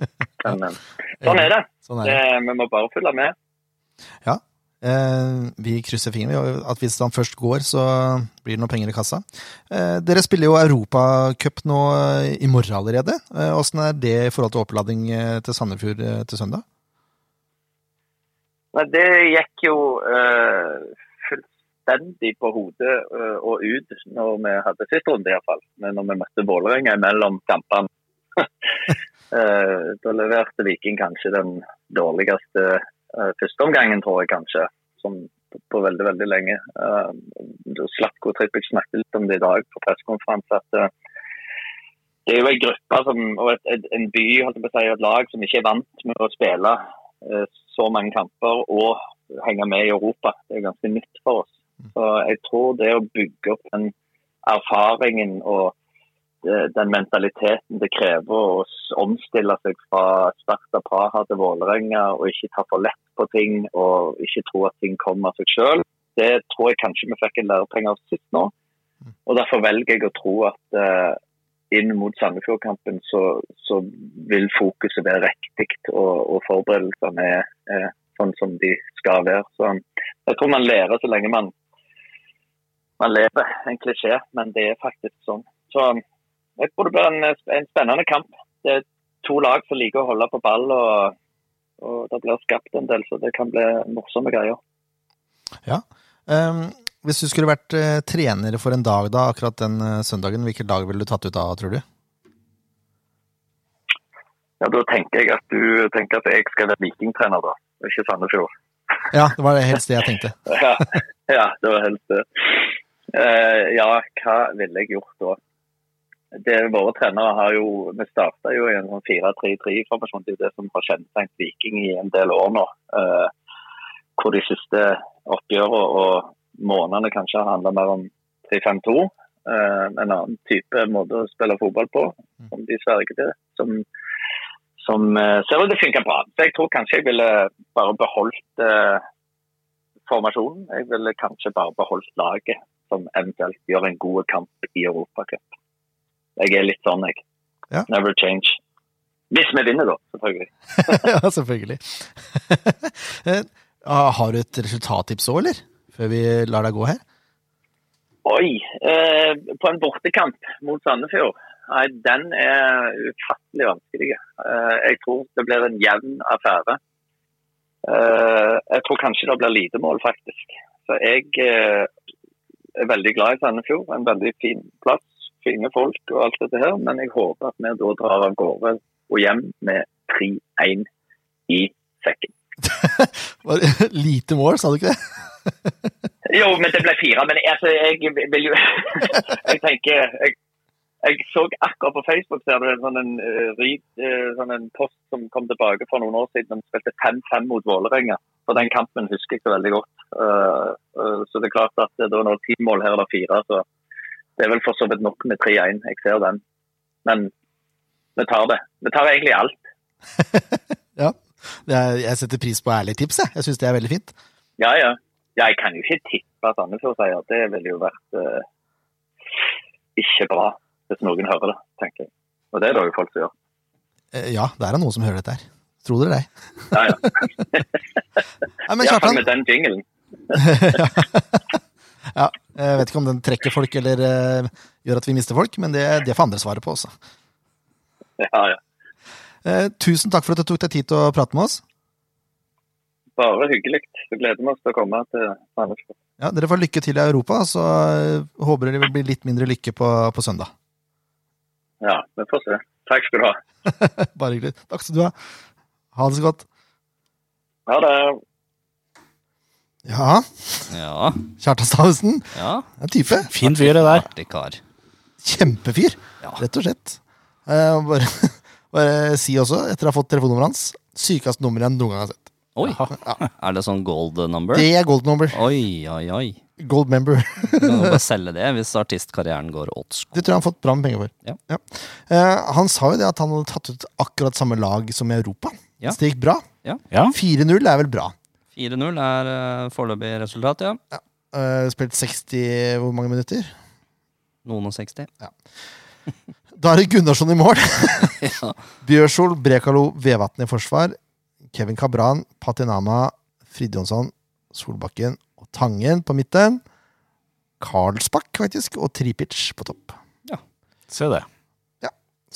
[SPEAKER 6] men, eh, sånn er det.
[SPEAKER 2] Sånn er det.
[SPEAKER 6] det. Vi må bare følge med.
[SPEAKER 2] Eh, vi krysser fingrene vi, at hvis han først går, så blir det noen penger i kassa. Eh, dere spiller jo Europacup nå eh, i morgen allerede. Eh, Åssen er det i forhold til oppladning eh, til Sandefjord eh, til søndag?
[SPEAKER 6] Nei, det gikk jo eh, fullstendig på hodet eh, og ut når vi hadde sist runde, iallfall. Men når vi møtte Vålerenga mellom kampene, eh, da leverte Viking kanskje den dårligste eh, førsteomgangen, tror jeg kanskje, som på, på veldig, veldig lenge. Eh, da Slatko Trippic snakket litt om det i dag på pressekonferanse. at eh, det er jo en gruppe som, og et, et, en by holdt jeg på å si, og et lag som ikke er vant med å spille eh, så mange kamper og henge med i Europa. Det er ganske nytt for oss. Så jeg tror det å bygge opp den erfaringen og eh, den mentaliteten det krever å s- omstille seg fra Sparta Praha til Vålerenga og ikke ta for lett på ting og ikke tro at ting kommer av seg sjøl, det tror jeg kanskje vi fikk en lærepenge av sist nå. Og derfor velger jeg å tro at eh, inn mot Sandefjordkampen så, så vil fokuset være riktig, og, og forberedelsene er, er sånn som de skal være. Så jeg tror man lærer så lenge man, man lever. En klisjé, men det er faktisk sånn. Så jeg tror det blir en, en spennende kamp. Det er to lag som liker å holde på ball, og, og det blir skapt en del, så det kan bli morsomme greier.
[SPEAKER 2] Eh, hvis du skulle vært eh, trener for en dag da, akkurat den eh, søndagen, hvilket lag ville du tatt ut da, tror du?
[SPEAKER 6] Ja, Da tenker jeg at du tenker at jeg skal være vikingtrener, da, og ikke Sandefjord.
[SPEAKER 2] Ja, det var det helst det jeg tenkte.
[SPEAKER 6] ja, ja, det var helt det. Eh, ja, hva ville jeg gjort da? Det, våre trenere har jo Vi starta jo i en sånn 4-3-3-formasjon. Det er jo det som har kjennetegnet Viking i en del år nå. Eh, hvor de siste oppgjørene og månedene kanskje har handla mer om 3-5-2. Eh, en annen type måte å spille fotball på, som de sverger til. Som, som eh, ser ut til å funke bra. Så jeg tror kanskje jeg ville bare beholdt eh, formasjonen. Jeg ville kanskje bare beholdt laget, som eventuelt gjør en god kamp i Europacup. Jeg er litt sånn, jeg.
[SPEAKER 2] Ja.
[SPEAKER 6] Never change. Hvis vi vinner, da, selvfølgelig.
[SPEAKER 2] ja, selvfølgelig. Eh, har du et resultattips òg, eller? Før vi lar deg gå her?
[SPEAKER 6] Oi! Eh, på en bortekamp mot Sandefjord. Nei, den er ufattelig vanskelig. Eh, jeg tror det blir en jevn affære. Eh, jeg tror kanskje det blir lite mål, faktisk. Så jeg eh, er veldig glad i Sandefjord. En veldig fin plass, fine folk og alt dette her. Men jeg håper at vi da drar av gårde og hjem med 3-1 i sekken.
[SPEAKER 2] Var det Lite mål, sa du ikke det?
[SPEAKER 6] Jo, men det ble fire. Men altså, jeg vil jo Jeg tenker jeg, jeg så akkurat på Facebook ser du en sånn en, eh, rid, eh, sånn en post som kom tilbake for noen år siden. De spilte 5-5 mot Vålerenga. Og den kampen husker jeg så veldig godt. Eh, eh, så det er klart at det, da når ti mål her er det fire, så det er vel for så vidt nok med 3-1. Jeg ser den. Men vi tar det. Vi tar egentlig alt.
[SPEAKER 2] Ja. Det er, jeg setter pris på ærlige tips, jeg. Jeg syns det er veldig fint.
[SPEAKER 6] Ja, ja. ja jeg kan jo ikke tippe Sandefjord-seier. Det ville jo vært eh, ikke bra hvis noen hører det, tenker jeg. Og det er det jo folk som gjør.
[SPEAKER 2] Eh, Ja, det er da noen som hører dette her. Tror dere det?
[SPEAKER 6] Ja, ja.
[SPEAKER 2] Nei, men
[SPEAKER 6] Iallfall
[SPEAKER 2] Kjartan,
[SPEAKER 6] med den jinglen.
[SPEAKER 2] ja, eh, jeg vet ikke om den trekker folk eller eh, gjør at vi mister folk, men det, det får andre svaret på også.
[SPEAKER 6] Ja, ja.
[SPEAKER 2] Eh, tusen takk for at du tok deg tid til å prate med oss.
[SPEAKER 6] Bare hyggelig. Så gleder vi oss til å komme til Sandefjord.
[SPEAKER 2] Ja, Dere får lykke til i Europa, så eh, håper dere blir litt mindre lykke på, på søndag.
[SPEAKER 6] Ja, vi får se. Takk skal du ha.
[SPEAKER 2] Bare hyggelig. Takk skal du ha. Ha det så godt.
[SPEAKER 6] Ha det.
[SPEAKER 2] Ja,
[SPEAKER 3] Ja,
[SPEAKER 2] Kjartan Stavesen.
[SPEAKER 3] ja.
[SPEAKER 2] det er En type.
[SPEAKER 1] Fin fyr, det der.
[SPEAKER 3] Artig kar.
[SPEAKER 2] Kjempefyr,
[SPEAKER 3] Ja.
[SPEAKER 2] rett og slett. Eh, og bare, bare si også, etter å ha fått telefonnummeret hans, sykeste nummer jeg noen gang har sett.
[SPEAKER 3] Oi, er det sånn gold number?
[SPEAKER 2] Det er gold number.
[SPEAKER 3] Oi, oi, oi.
[SPEAKER 2] Gold member.
[SPEAKER 3] Du kan jo bare selge det hvis artistkarrieren går åt sko.
[SPEAKER 2] Det tror jeg han har fått bra med penger for.
[SPEAKER 3] Ja.
[SPEAKER 2] Eh, han sa jo det at han hadde tatt ut akkurat samme lag som i Europa.
[SPEAKER 3] Ja.
[SPEAKER 2] Så det gikk bra.
[SPEAKER 1] Ja.
[SPEAKER 2] 4-0 er vel bra.
[SPEAKER 3] 4-0 er eh, foreløpig resultat, ja.
[SPEAKER 2] Eh, spilt 60 hvor mange minutter?
[SPEAKER 3] Noen og 60.
[SPEAKER 2] Da er det Gunnarsson i mål.
[SPEAKER 3] Ja.
[SPEAKER 2] Bjørsol, Brekalo, Vevatn i forsvar. Kevin Kabran, Patinama, Fridjonsson, Solbakken og Tangen på midten. Karlsbakk, faktisk, og Tripic på topp.
[SPEAKER 1] Se det.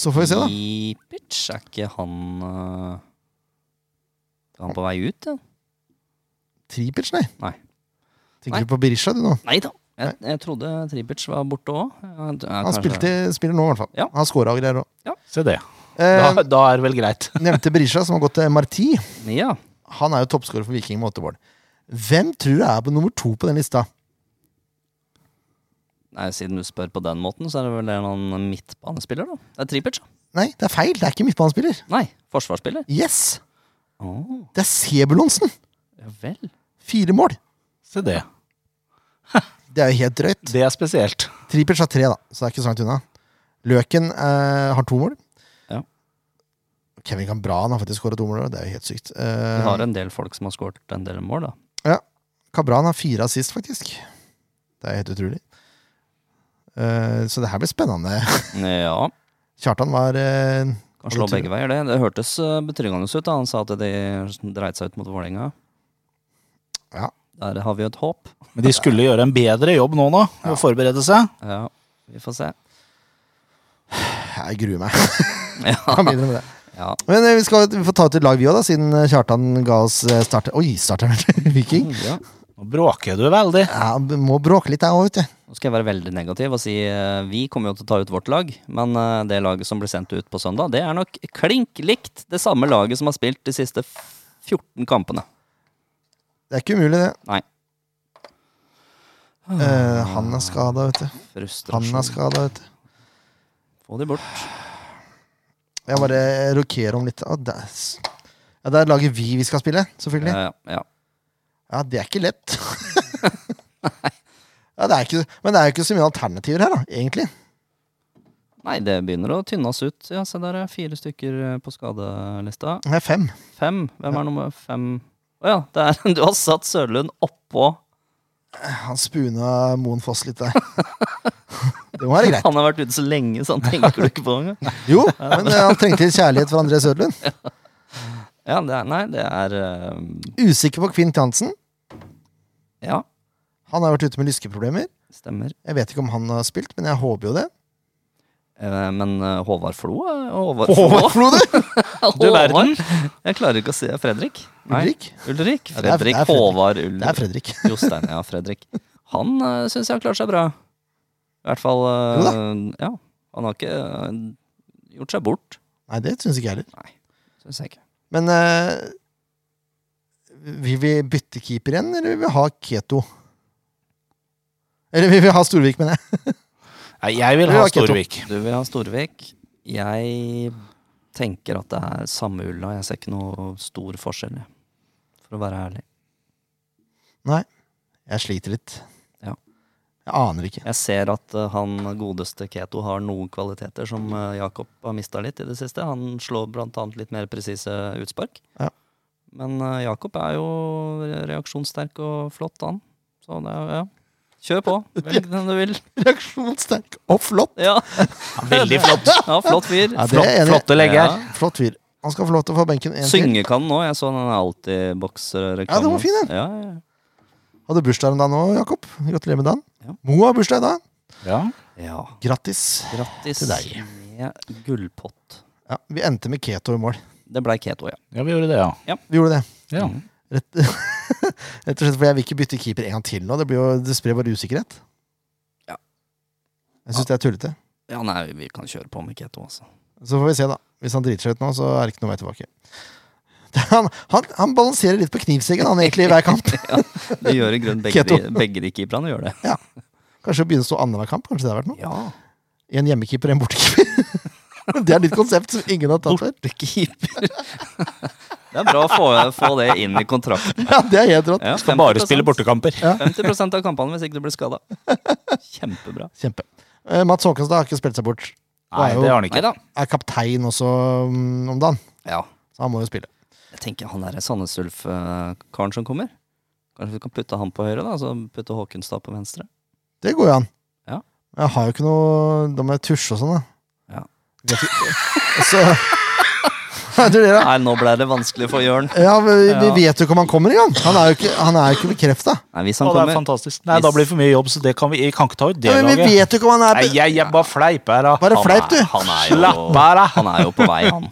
[SPEAKER 2] Så får vi se, da.
[SPEAKER 3] Ipic, er ikke han øh, Er han på vei ut, ja?
[SPEAKER 2] Tripic, nei.
[SPEAKER 3] Nei.
[SPEAKER 2] Tenker du på Berisha, du nå?
[SPEAKER 3] Nei da. Jeg, jeg trodde Tripic var borte òg. Han
[SPEAKER 2] Han spilte, spiller nå, i hvert fall.
[SPEAKER 3] Ja.
[SPEAKER 2] Han scora og greier òg.
[SPEAKER 1] Se det.
[SPEAKER 2] Eh,
[SPEAKER 1] Da, da er det vel greit.
[SPEAKER 2] nevnte Berisha, som har gått til MRT.
[SPEAKER 3] Ja.
[SPEAKER 2] Han er jo toppskårer for Viking med åtte mål. Hvem tror du er på nummer to på den lista?
[SPEAKER 3] Nei, siden du spør på den måten, så er det vel en annen midtbanespiller, da. Det er Tripic, da.
[SPEAKER 2] Nei, det er feil. Det er ikke midtbanespiller.
[SPEAKER 3] Nei, forsvarsspiller.
[SPEAKER 2] Yes!
[SPEAKER 3] Oh,
[SPEAKER 2] Det er Sebulonsen!
[SPEAKER 3] ja vel.
[SPEAKER 2] Fire mål.
[SPEAKER 1] Se det.
[SPEAKER 2] Det er jo helt drøyt.
[SPEAKER 1] Det er spesielt.
[SPEAKER 2] Tripic har tre, da, så det er ikke så langt unna. Løken eh, har to mål.
[SPEAKER 3] Ja.
[SPEAKER 2] Kevin Cambran har faktisk skåra to mål. i år, Det er jo helt sykt.
[SPEAKER 3] Vi
[SPEAKER 2] Eh,
[SPEAKER 3] har en del folk som har skåret en del mål, da.
[SPEAKER 2] Cabran har fire assist, faktisk. Det er helt utrolig. Eh, så det her blir spennende.
[SPEAKER 3] Ja.
[SPEAKER 2] Kjartan var eh,
[SPEAKER 3] Kan
[SPEAKER 2] Det
[SPEAKER 3] slå
[SPEAKER 2] tror jeg.
[SPEAKER 3] begge veier, det. Det hørtes eh, betryggende ut da han sa at de dreit seg ut mot Vålerenga.
[SPEAKER 2] Ja.
[SPEAKER 3] Der har vi jo et håp.
[SPEAKER 1] Men de skulle gjøre en bedre jobb nå, nå. Og forberede seg.
[SPEAKER 3] Ja, vi får se.
[SPEAKER 2] Jeg gruer meg.
[SPEAKER 3] Ja.
[SPEAKER 2] Kan begynne med det.
[SPEAKER 3] Ja.
[SPEAKER 2] Men eh, vi, skal, vi får ta ut et lag, vi òg, siden eh, Kjartan ga oss eh, starte... Oi, starteren til Viking.
[SPEAKER 3] ja.
[SPEAKER 1] Nå bråker du veldig.
[SPEAKER 2] Ja, b- må bråke litt, jeg òg, vet du.
[SPEAKER 3] Nå skal jeg være veldig negativ og si eh, vi kommer jo til å ta ut vårt lag, men eh, det laget som blir sendt ut på søndag, det er nok klink likt det samme laget som har spilt de siste 14 kampene.
[SPEAKER 2] Det er ikke umulig, det.
[SPEAKER 3] Nei.
[SPEAKER 2] Eh, han er skada, vet du. Han er
[SPEAKER 3] Frustrasjon.
[SPEAKER 2] skada, vet du.
[SPEAKER 3] Få de bort.
[SPEAKER 2] Jeg bare rokerer om litt. Å, det er s- ja, det er laget vi vi skal spille, selvfølgelig.
[SPEAKER 3] Ja, Eh, ja, ja.
[SPEAKER 2] Ja, det er ikke lett. ja, det er ikke, men det er jo ikke så mye alternativer her, da, egentlig.
[SPEAKER 3] Nei, det begynner å tynne oss ut. Ja, se der er fire stykker eh, på skadelista.
[SPEAKER 2] Det er fem.
[SPEAKER 3] Fem. Hvem er nummer fem? Å ja, det er, du har satt Sørlund oppå.
[SPEAKER 2] Han spuna Moen Foss litt der. det må være greit.
[SPEAKER 3] Han har vært ute så lenge, så han tenker du ikke på engang.
[SPEAKER 2] Jo, men eh, han trengte litt kjærlighet fra André Sødlund.
[SPEAKER 3] Ja, det er, nei, det er eh,
[SPEAKER 2] Usikker på Kvint Jansen.
[SPEAKER 3] Ja,
[SPEAKER 2] Han har vært ute med lyskeproblemer.
[SPEAKER 3] stemmer.
[SPEAKER 2] Jeg vet ikke om han har spilt, men jeg håper jo det.
[SPEAKER 3] Eh, Men eh, Håvard Flo eh, Håvard
[SPEAKER 1] Håvard Flo,
[SPEAKER 3] du!
[SPEAKER 1] Du verden.
[SPEAKER 3] Jeg klarer ikke å se Fredrik.
[SPEAKER 2] Ulrik?
[SPEAKER 3] Ulrik.
[SPEAKER 2] det er- det
[SPEAKER 3] Fredrik,
[SPEAKER 2] er Fredrik.
[SPEAKER 3] Håvard
[SPEAKER 2] Det er
[SPEAKER 3] Ulrik.
[SPEAKER 2] Fredrik.
[SPEAKER 3] Jostein, ja, Fredrik. Han uh, syns jeg har klart seg bra. I hvert fall eh,
[SPEAKER 2] Jo
[SPEAKER 3] Ja. Han har ikke eh, gjort seg bort,
[SPEAKER 2] Nei, det syns ikke jeg heller.
[SPEAKER 3] syns jeg ikke.
[SPEAKER 2] Men eh, vil vi bytte keeper igjen, eller vil vi ha Keto? Eller vil vi ha Storvik, mener jeg.
[SPEAKER 1] Nei, jeg vil
[SPEAKER 2] Det
[SPEAKER 1] ha
[SPEAKER 2] var ikke
[SPEAKER 1] Storvik.
[SPEAKER 3] Du vil ha Storvik. Jeg tenker at det er samme ulla. Jeg ser ikke noe stor forskjell, jeg. for å være ærlig.
[SPEAKER 2] Jeg sliter litt.
[SPEAKER 3] Ja.
[SPEAKER 2] Jeg aner ikke.
[SPEAKER 3] Jeg ser at eh, han godeste Keto har noen kvaliteter som eh, Jakob har mista litt i det siste. Han slår blant annet litt mer presise utspark.
[SPEAKER 2] Ja.
[SPEAKER 3] Men eh, Jakob er jo reaksjonssterk og flott, han. Så det er ja. Kjør på. Velg den du vil.
[SPEAKER 2] Reaksjonssterk og flott.
[SPEAKER 3] Ja,
[SPEAKER 1] Veldig flott.
[SPEAKER 3] ja flott fyr.
[SPEAKER 2] Ja, det
[SPEAKER 1] flott
[SPEAKER 2] er jeg enig i.
[SPEAKER 1] flotte legger.
[SPEAKER 3] Ja.
[SPEAKER 2] Flott fyr. Han skal få lov til å få benken en til.
[SPEAKER 3] Synge kan nå. Jeg så den Altibox-reklamen.
[SPEAKER 2] Ja, den var fin, den.
[SPEAKER 3] Ja, ja, ja.
[SPEAKER 2] Hadde bursdag en dag nå, Jakob. Gratulerer med dagen.
[SPEAKER 3] Ja.
[SPEAKER 2] Mo har bursdag i dag.
[SPEAKER 1] Ja.
[SPEAKER 3] ja.
[SPEAKER 2] Grattis.
[SPEAKER 3] Grattis
[SPEAKER 2] Til deg.
[SPEAKER 3] med gullpott.
[SPEAKER 2] Ja, vi endte med Keto i mål.
[SPEAKER 3] Det blei Keto, ja.
[SPEAKER 1] ja, vi gjorde det, ja.
[SPEAKER 2] Vi gjorde det.
[SPEAKER 1] ja.
[SPEAKER 2] Rett, rett og slett fordi jeg vil ikke bytte keeper en gang til nå. Det, blir jo, det sprer bare usikkerhet.
[SPEAKER 3] Ja.
[SPEAKER 2] Jeg syns det er tullete.
[SPEAKER 3] Ja, nei, vi kan kjøre på med Keto, altså.
[SPEAKER 2] Så får vi se, da. Hvis han driter seg ut nå, så er det ikke noe vei tilbake. Han, han, han balanserer litt på knivseggen, han egentlig, i hver kamp.
[SPEAKER 3] Det gjør i grunnen begge,
[SPEAKER 2] Keto.
[SPEAKER 3] de, begge de keeperne gjør det.
[SPEAKER 2] Kanskje å begynne å stå annenhver kamp. Kanskje det har vært noe?
[SPEAKER 3] Ja,
[SPEAKER 2] En hjemmekeeper, en bortekeeper. Det er ditt konsept som ingen har tatt før.
[SPEAKER 3] Bortekeeper. Det er bra å få, få det inn i kontrakten.
[SPEAKER 2] Ja, det er helt rått.
[SPEAKER 3] Ja,
[SPEAKER 1] Skal bare spille bortekamper.
[SPEAKER 3] 50 av kampene hvis ikke du blir skada. Kjempebra.
[SPEAKER 2] Kjempe. Eh, Mats Håkonstad har ikke spilt seg bort.
[SPEAKER 1] Nei, det har han ikke.
[SPEAKER 3] Nei da.
[SPEAKER 2] Er kaptein også mm, om dagen,
[SPEAKER 3] Ja.
[SPEAKER 2] så han må jo spille.
[SPEAKER 3] Jeg tenker han derre Sandnes Ulf-karen som kommer. Kanskje vi kan putte han på høyre, da, så putte Håkenstad på venstre.
[SPEAKER 2] Det går jo an.
[SPEAKER 3] Ja.
[SPEAKER 2] Men Jeg har jo ikke noe Da må jeg tusje og sånn, da.
[SPEAKER 3] Ja.
[SPEAKER 2] Vet ikke- Og så Hva tror dere?
[SPEAKER 3] Nei, nå ble det vanskelig for Jørn.
[SPEAKER 2] Ja, vi, vi
[SPEAKER 3] Ja.
[SPEAKER 2] vet jo ikke om han kommer engang. Han er jo ikke, han er jo ikke bekrefta.
[SPEAKER 3] Nei, hvis
[SPEAKER 1] Å,
[SPEAKER 3] han
[SPEAKER 1] det er
[SPEAKER 3] kommer
[SPEAKER 1] fantastisk. Nei,
[SPEAKER 3] Hvis-
[SPEAKER 1] da blir det for mye jobb, så det kan vi, vi kan ikke ta ut det
[SPEAKER 2] Ja, men vi
[SPEAKER 1] laget.
[SPEAKER 2] vet jo ikke om han er
[SPEAKER 1] Nei,
[SPEAKER 2] be-
[SPEAKER 1] jeg, jeg bare fleiper her, da.
[SPEAKER 2] Bare fleip, du.
[SPEAKER 3] Han er,
[SPEAKER 1] Slapp
[SPEAKER 3] jo,
[SPEAKER 1] av, da.
[SPEAKER 3] han er jo på vei, han.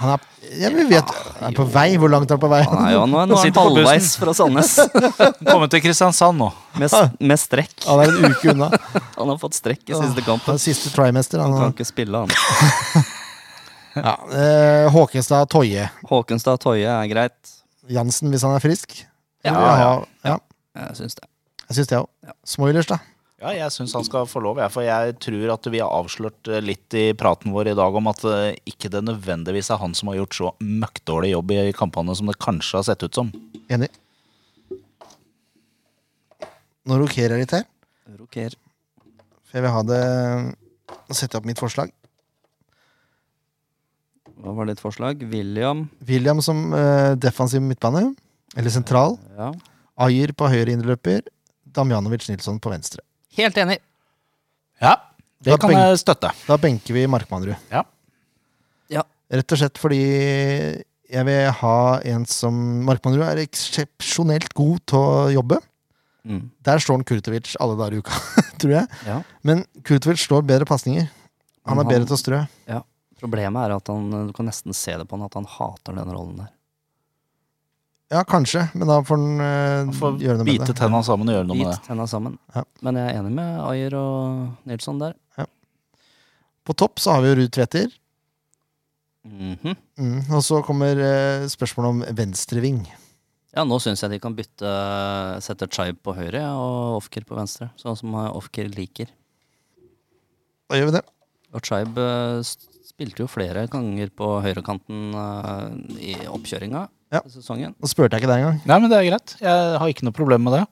[SPEAKER 2] Han er, ja, vi vet han er på vei. Hvor langt er han på vei?
[SPEAKER 3] Ah, Han er jo nå er han
[SPEAKER 1] Sitter på bussen.
[SPEAKER 3] halvveis fra Sandnes.
[SPEAKER 1] Komme til Kristiansand nå.
[SPEAKER 3] Med, s- med strekk.
[SPEAKER 2] Han er en uke unna.
[SPEAKER 3] Han har fått strekk i siste
[SPEAKER 2] Han
[SPEAKER 3] kampen.
[SPEAKER 2] er siste trimester.
[SPEAKER 3] Kan
[SPEAKER 2] Han,
[SPEAKER 3] ikke spille, han.
[SPEAKER 2] ja. eh, Håkenstad Toje
[SPEAKER 3] Håkenstad Toje er greit.
[SPEAKER 2] Jansen, hvis han er frisk.
[SPEAKER 3] Ja,
[SPEAKER 2] Vil jeg ha- ja.
[SPEAKER 3] Jeg syns det.
[SPEAKER 2] Jeg syns det òg. Smoilers, da.
[SPEAKER 1] Ja, jeg syns han skal få lov, jeg, for jeg tror at vi har avslørt eh, litt i praten vår i dag om at eh, ikke det nødvendigvis er han som har gjort så møkkdårlig jobb i kampene som det kanskje har sett ut som.
[SPEAKER 2] Enig. Nå rokerer jeg litt her,
[SPEAKER 3] Roker.
[SPEAKER 2] for jeg vil ha det Nå setter jeg opp mitt forslag.
[SPEAKER 3] Hva var ditt forslag? William?
[SPEAKER 2] William som eh, defensiv midtbane, eller sentral.
[SPEAKER 3] Ja.
[SPEAKER 2] Ayer på høyre indreløper. Damjanovic Nilsson på venstre.
[SPEAKER 3] Helt enig.
[SPEAKER 1] Ja,
[SPEAKER 2] Da
[SPEAKER 1] det kan
[SPEAKER 2] beng-
[SPEAKER 1] jeg støtte.
[SPEAKER 2] Da benker vi Markmannrud.
[SPEAKER 1] Ja.
[SPEAKER 3] Ja.
[SPEAKER 2] Rett og slett fordi jeg vil ha en som Markmannrud er eksepsjonelt god til å jobbe.
[SPEAKER 3] Mm.
[SPEAKER 2] Der slår han Kurtovic alle dager i uka, tror jeg.
[SPEAKER 3] Ja.
[SPEAKER 2] Men Kurtovic slår bedre pasninger. Han er
[SPEAKER 3] Men han-
[SPEAKER 2] bedre til å strø.
[SPEAKER 3] Problemet er at han, du kan nesten se det på han at han hater den rollen der.
[SPEAKER 2] Ja, kanskje, men da får han eh,
[SPEAKER 1] Få
[SPEAKER 2] gjøre noe med
[SPEAKER 1] bite
[SPEAKER 2] det.
[SPEAKER 1] tenna sammen og gjøre noe med det.
[SPEAKER 3] Bit tenna sammen.
[SPEAKER 2] Ja.
[SPEAKER 3] Men jeg er enig med Ayer og Nilsson der.
[SPEAKER 2] På topp så har vi jo Ruud Tveter.
[SPEAKER 3] Mhm.
[SPEAKER 2] Mm. Og så kommer eh, spørsmålet om venstreving.
[SPEAKER 3] Ja, nå syns jeg de kan bytte Sette Chaib på høyre ja, og Ofker på venstre. Sånn som eh, Ofker liker.
[SPEAKER 2] Da gjør vi det.
[SPEAKER 3] Og Chaib eh, spilte jo flere ganger på høyrekanten eh, i oppkjøringa
[SPEAKER 2] Ja.
[SPEAKER 3] i sesongen.
[SPEAKER 2] Nå spurte jeg ikke deg engang.
[SPEAKER 1] Nei, men det er greit. Jeg har ikke noe problem med det.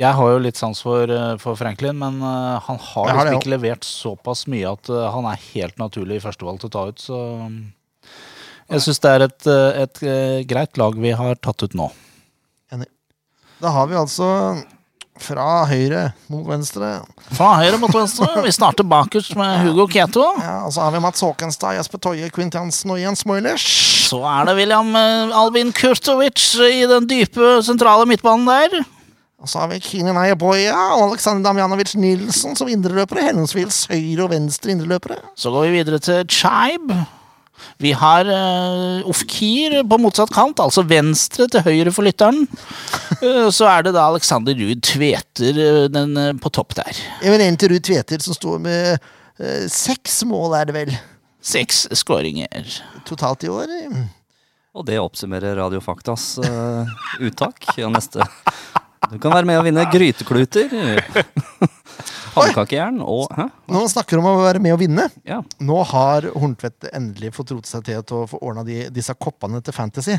[SPEAKER 1] Jeg har jo litt sans for, eh, for Franklin, men eh, han har
[SPEAKER 2] Jeg har
[SPEAKER 1] liksom
[SPEAKER 2] det
[SPEAKER 1] ikke levert såpass mye at eh, han er helt naturlig i førstevalg til å ta ut, så mm, jeg syns det er et, eh, et eh, greit lag vi har tatt ut nå.
[SPEAKER 2] Da har vi altså fra høyre mot venstre.
[SPEAKER 1] Fra høyre mot venstre, vi starter bakerst med Hugo Keto.
[SPEAKER 2] Ja, og så har vi Mats Håkenstad, Jesper Toje, Quint Jansen og Jens Moilers.
[SPEAKER 1] Så er det William eh, Albin Kurtovic i den dype, sentrale midtbanen der.
[SPEAKER 2] Og så har vi Kinen Ayaboya og Aleksander Damjanovic Nilsen som indreløpere. Henholdsvis høyre og venstre indreløpere.
[SPEAKER 1] Så går vi videre til Chaib. Vi har uh, Ofkir på motsatt kant, altså venstre til høyre for lytteren. Eh, så er det da Alexander Ruud Tveter eh, den, eh, på topp der.
[SPEAKER 2] Jeg vil inn til Ruud Tveter, som står med eh, seks mål, er det vel,
[SPEAKER 1] Seks skåringer.
[SPEAKER 2] totalt i år. Mm.
[SPEAKER 3] Og det oppsummerer Radio Faktas eh, uttak. Ja, neste. Du kan være med og vinne grytekluter, pannekakejern og Hæ?
[SPEAKER 2] Når man snakker om å være med å vinne,
[SPEAKER 3] Ja.
[SPEAKER 2] nå har Horntvedt endelig fått rotet seg til å få ordna de, disse koppene til Fantasy.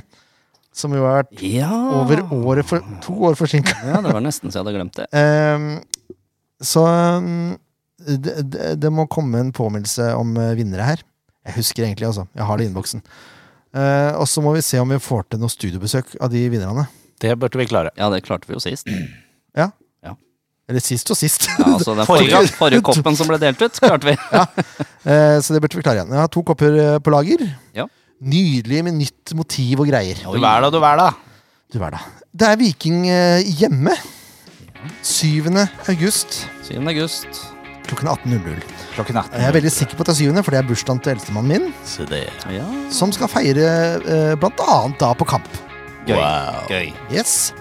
[SPEAKER 2] Som jo har vært
[SPEAKER 3] ja.
[SPEAKER 2] over året for, to år forsinka.
[SPEAKER 3] Ja, det var nesten så jeg hadde glemt det.
[SPEAKER 2] Ehm, så ehm, det, det, det må komme en påminnelse om eh, vinnere her. Jeg husker egentlig, altså. Jeg har det i innboksen. Eh, og så må vi se om vi får til noe studiobesøk av de vinnerne.
[SPEAKER 1] Det burde vi klare.
[SPEAKER 3] Ja, det klarte vi jo sist.
[SPEAKER 2] Eller sist og sist.
[SPEAKER 3] Ja, altså Den forrige, forrige koppen som ble delt ut, klarte vi.
[SPEAKER 2] Eh, så det burde vi klare igjen. Jeg har to kopper eh, på lager.
[SPEAKER 3] Ja.
[SPEAKER 2] Nydelig med nytt motiv og greier.
[SPEAKER 1] Du er da, du er da.
[SPEAKER 2] Du verda. Det er Viking eh, hjemme. 7. august
[SPEAKER 3] 7. august.
[SPEAKER 2] klokken 18.00.
[SPEAKER 1] Klokken
[SPEAKER 2] Jeg
[SPEAKER 1] 18.
[SPEAKER 2] er veldig sikker på at det er 7., for det er bursdagen til eldstemannen min.
[SPEAKER 1] Så det
[SPEAKER 3] Ja,
[SPEAKER 2] som skal feire eh, blant annet da på kamp.
[SPEAKER 3] Gøy.
[SPEAKER 1] Wow.
[SPEAKER 3] Gøy.
[SPEAKER 2] Yes.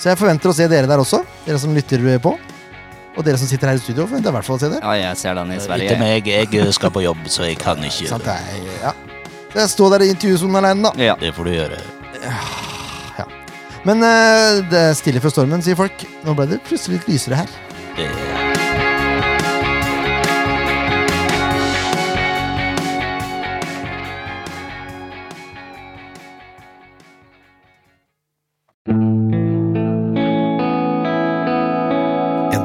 [SPEAKER 2] Så jeg forventer å se dere der også, dere som lytter eh, på. Og dere som sitter her i studio, forventer jeg i hvert fall å se dere.
[SPEAKER 3] Ja, jeg ser den i
[SPEAKER 1] Ikke
[SPEAKER 3] Sverige.
[SPEAKER 1] meg, jeg skal på jobb, så jeg kan
[SPEAKER 2] Ikke
[SPEAKER 1] ikke.
[SPEAKER 2] sant, jeg, ja. Så jeg står der i intervjusonen alene, da.
[SPEAKER 3] Ja.
[SPEAKER 1] Det får du gjøre.
[SPEAKER 2] Men eh, det er stille før stormen, sier folk. Nå ble det plutselig litt lysere her.
[SPEAKER 1] Det
[SPEAKER 7] En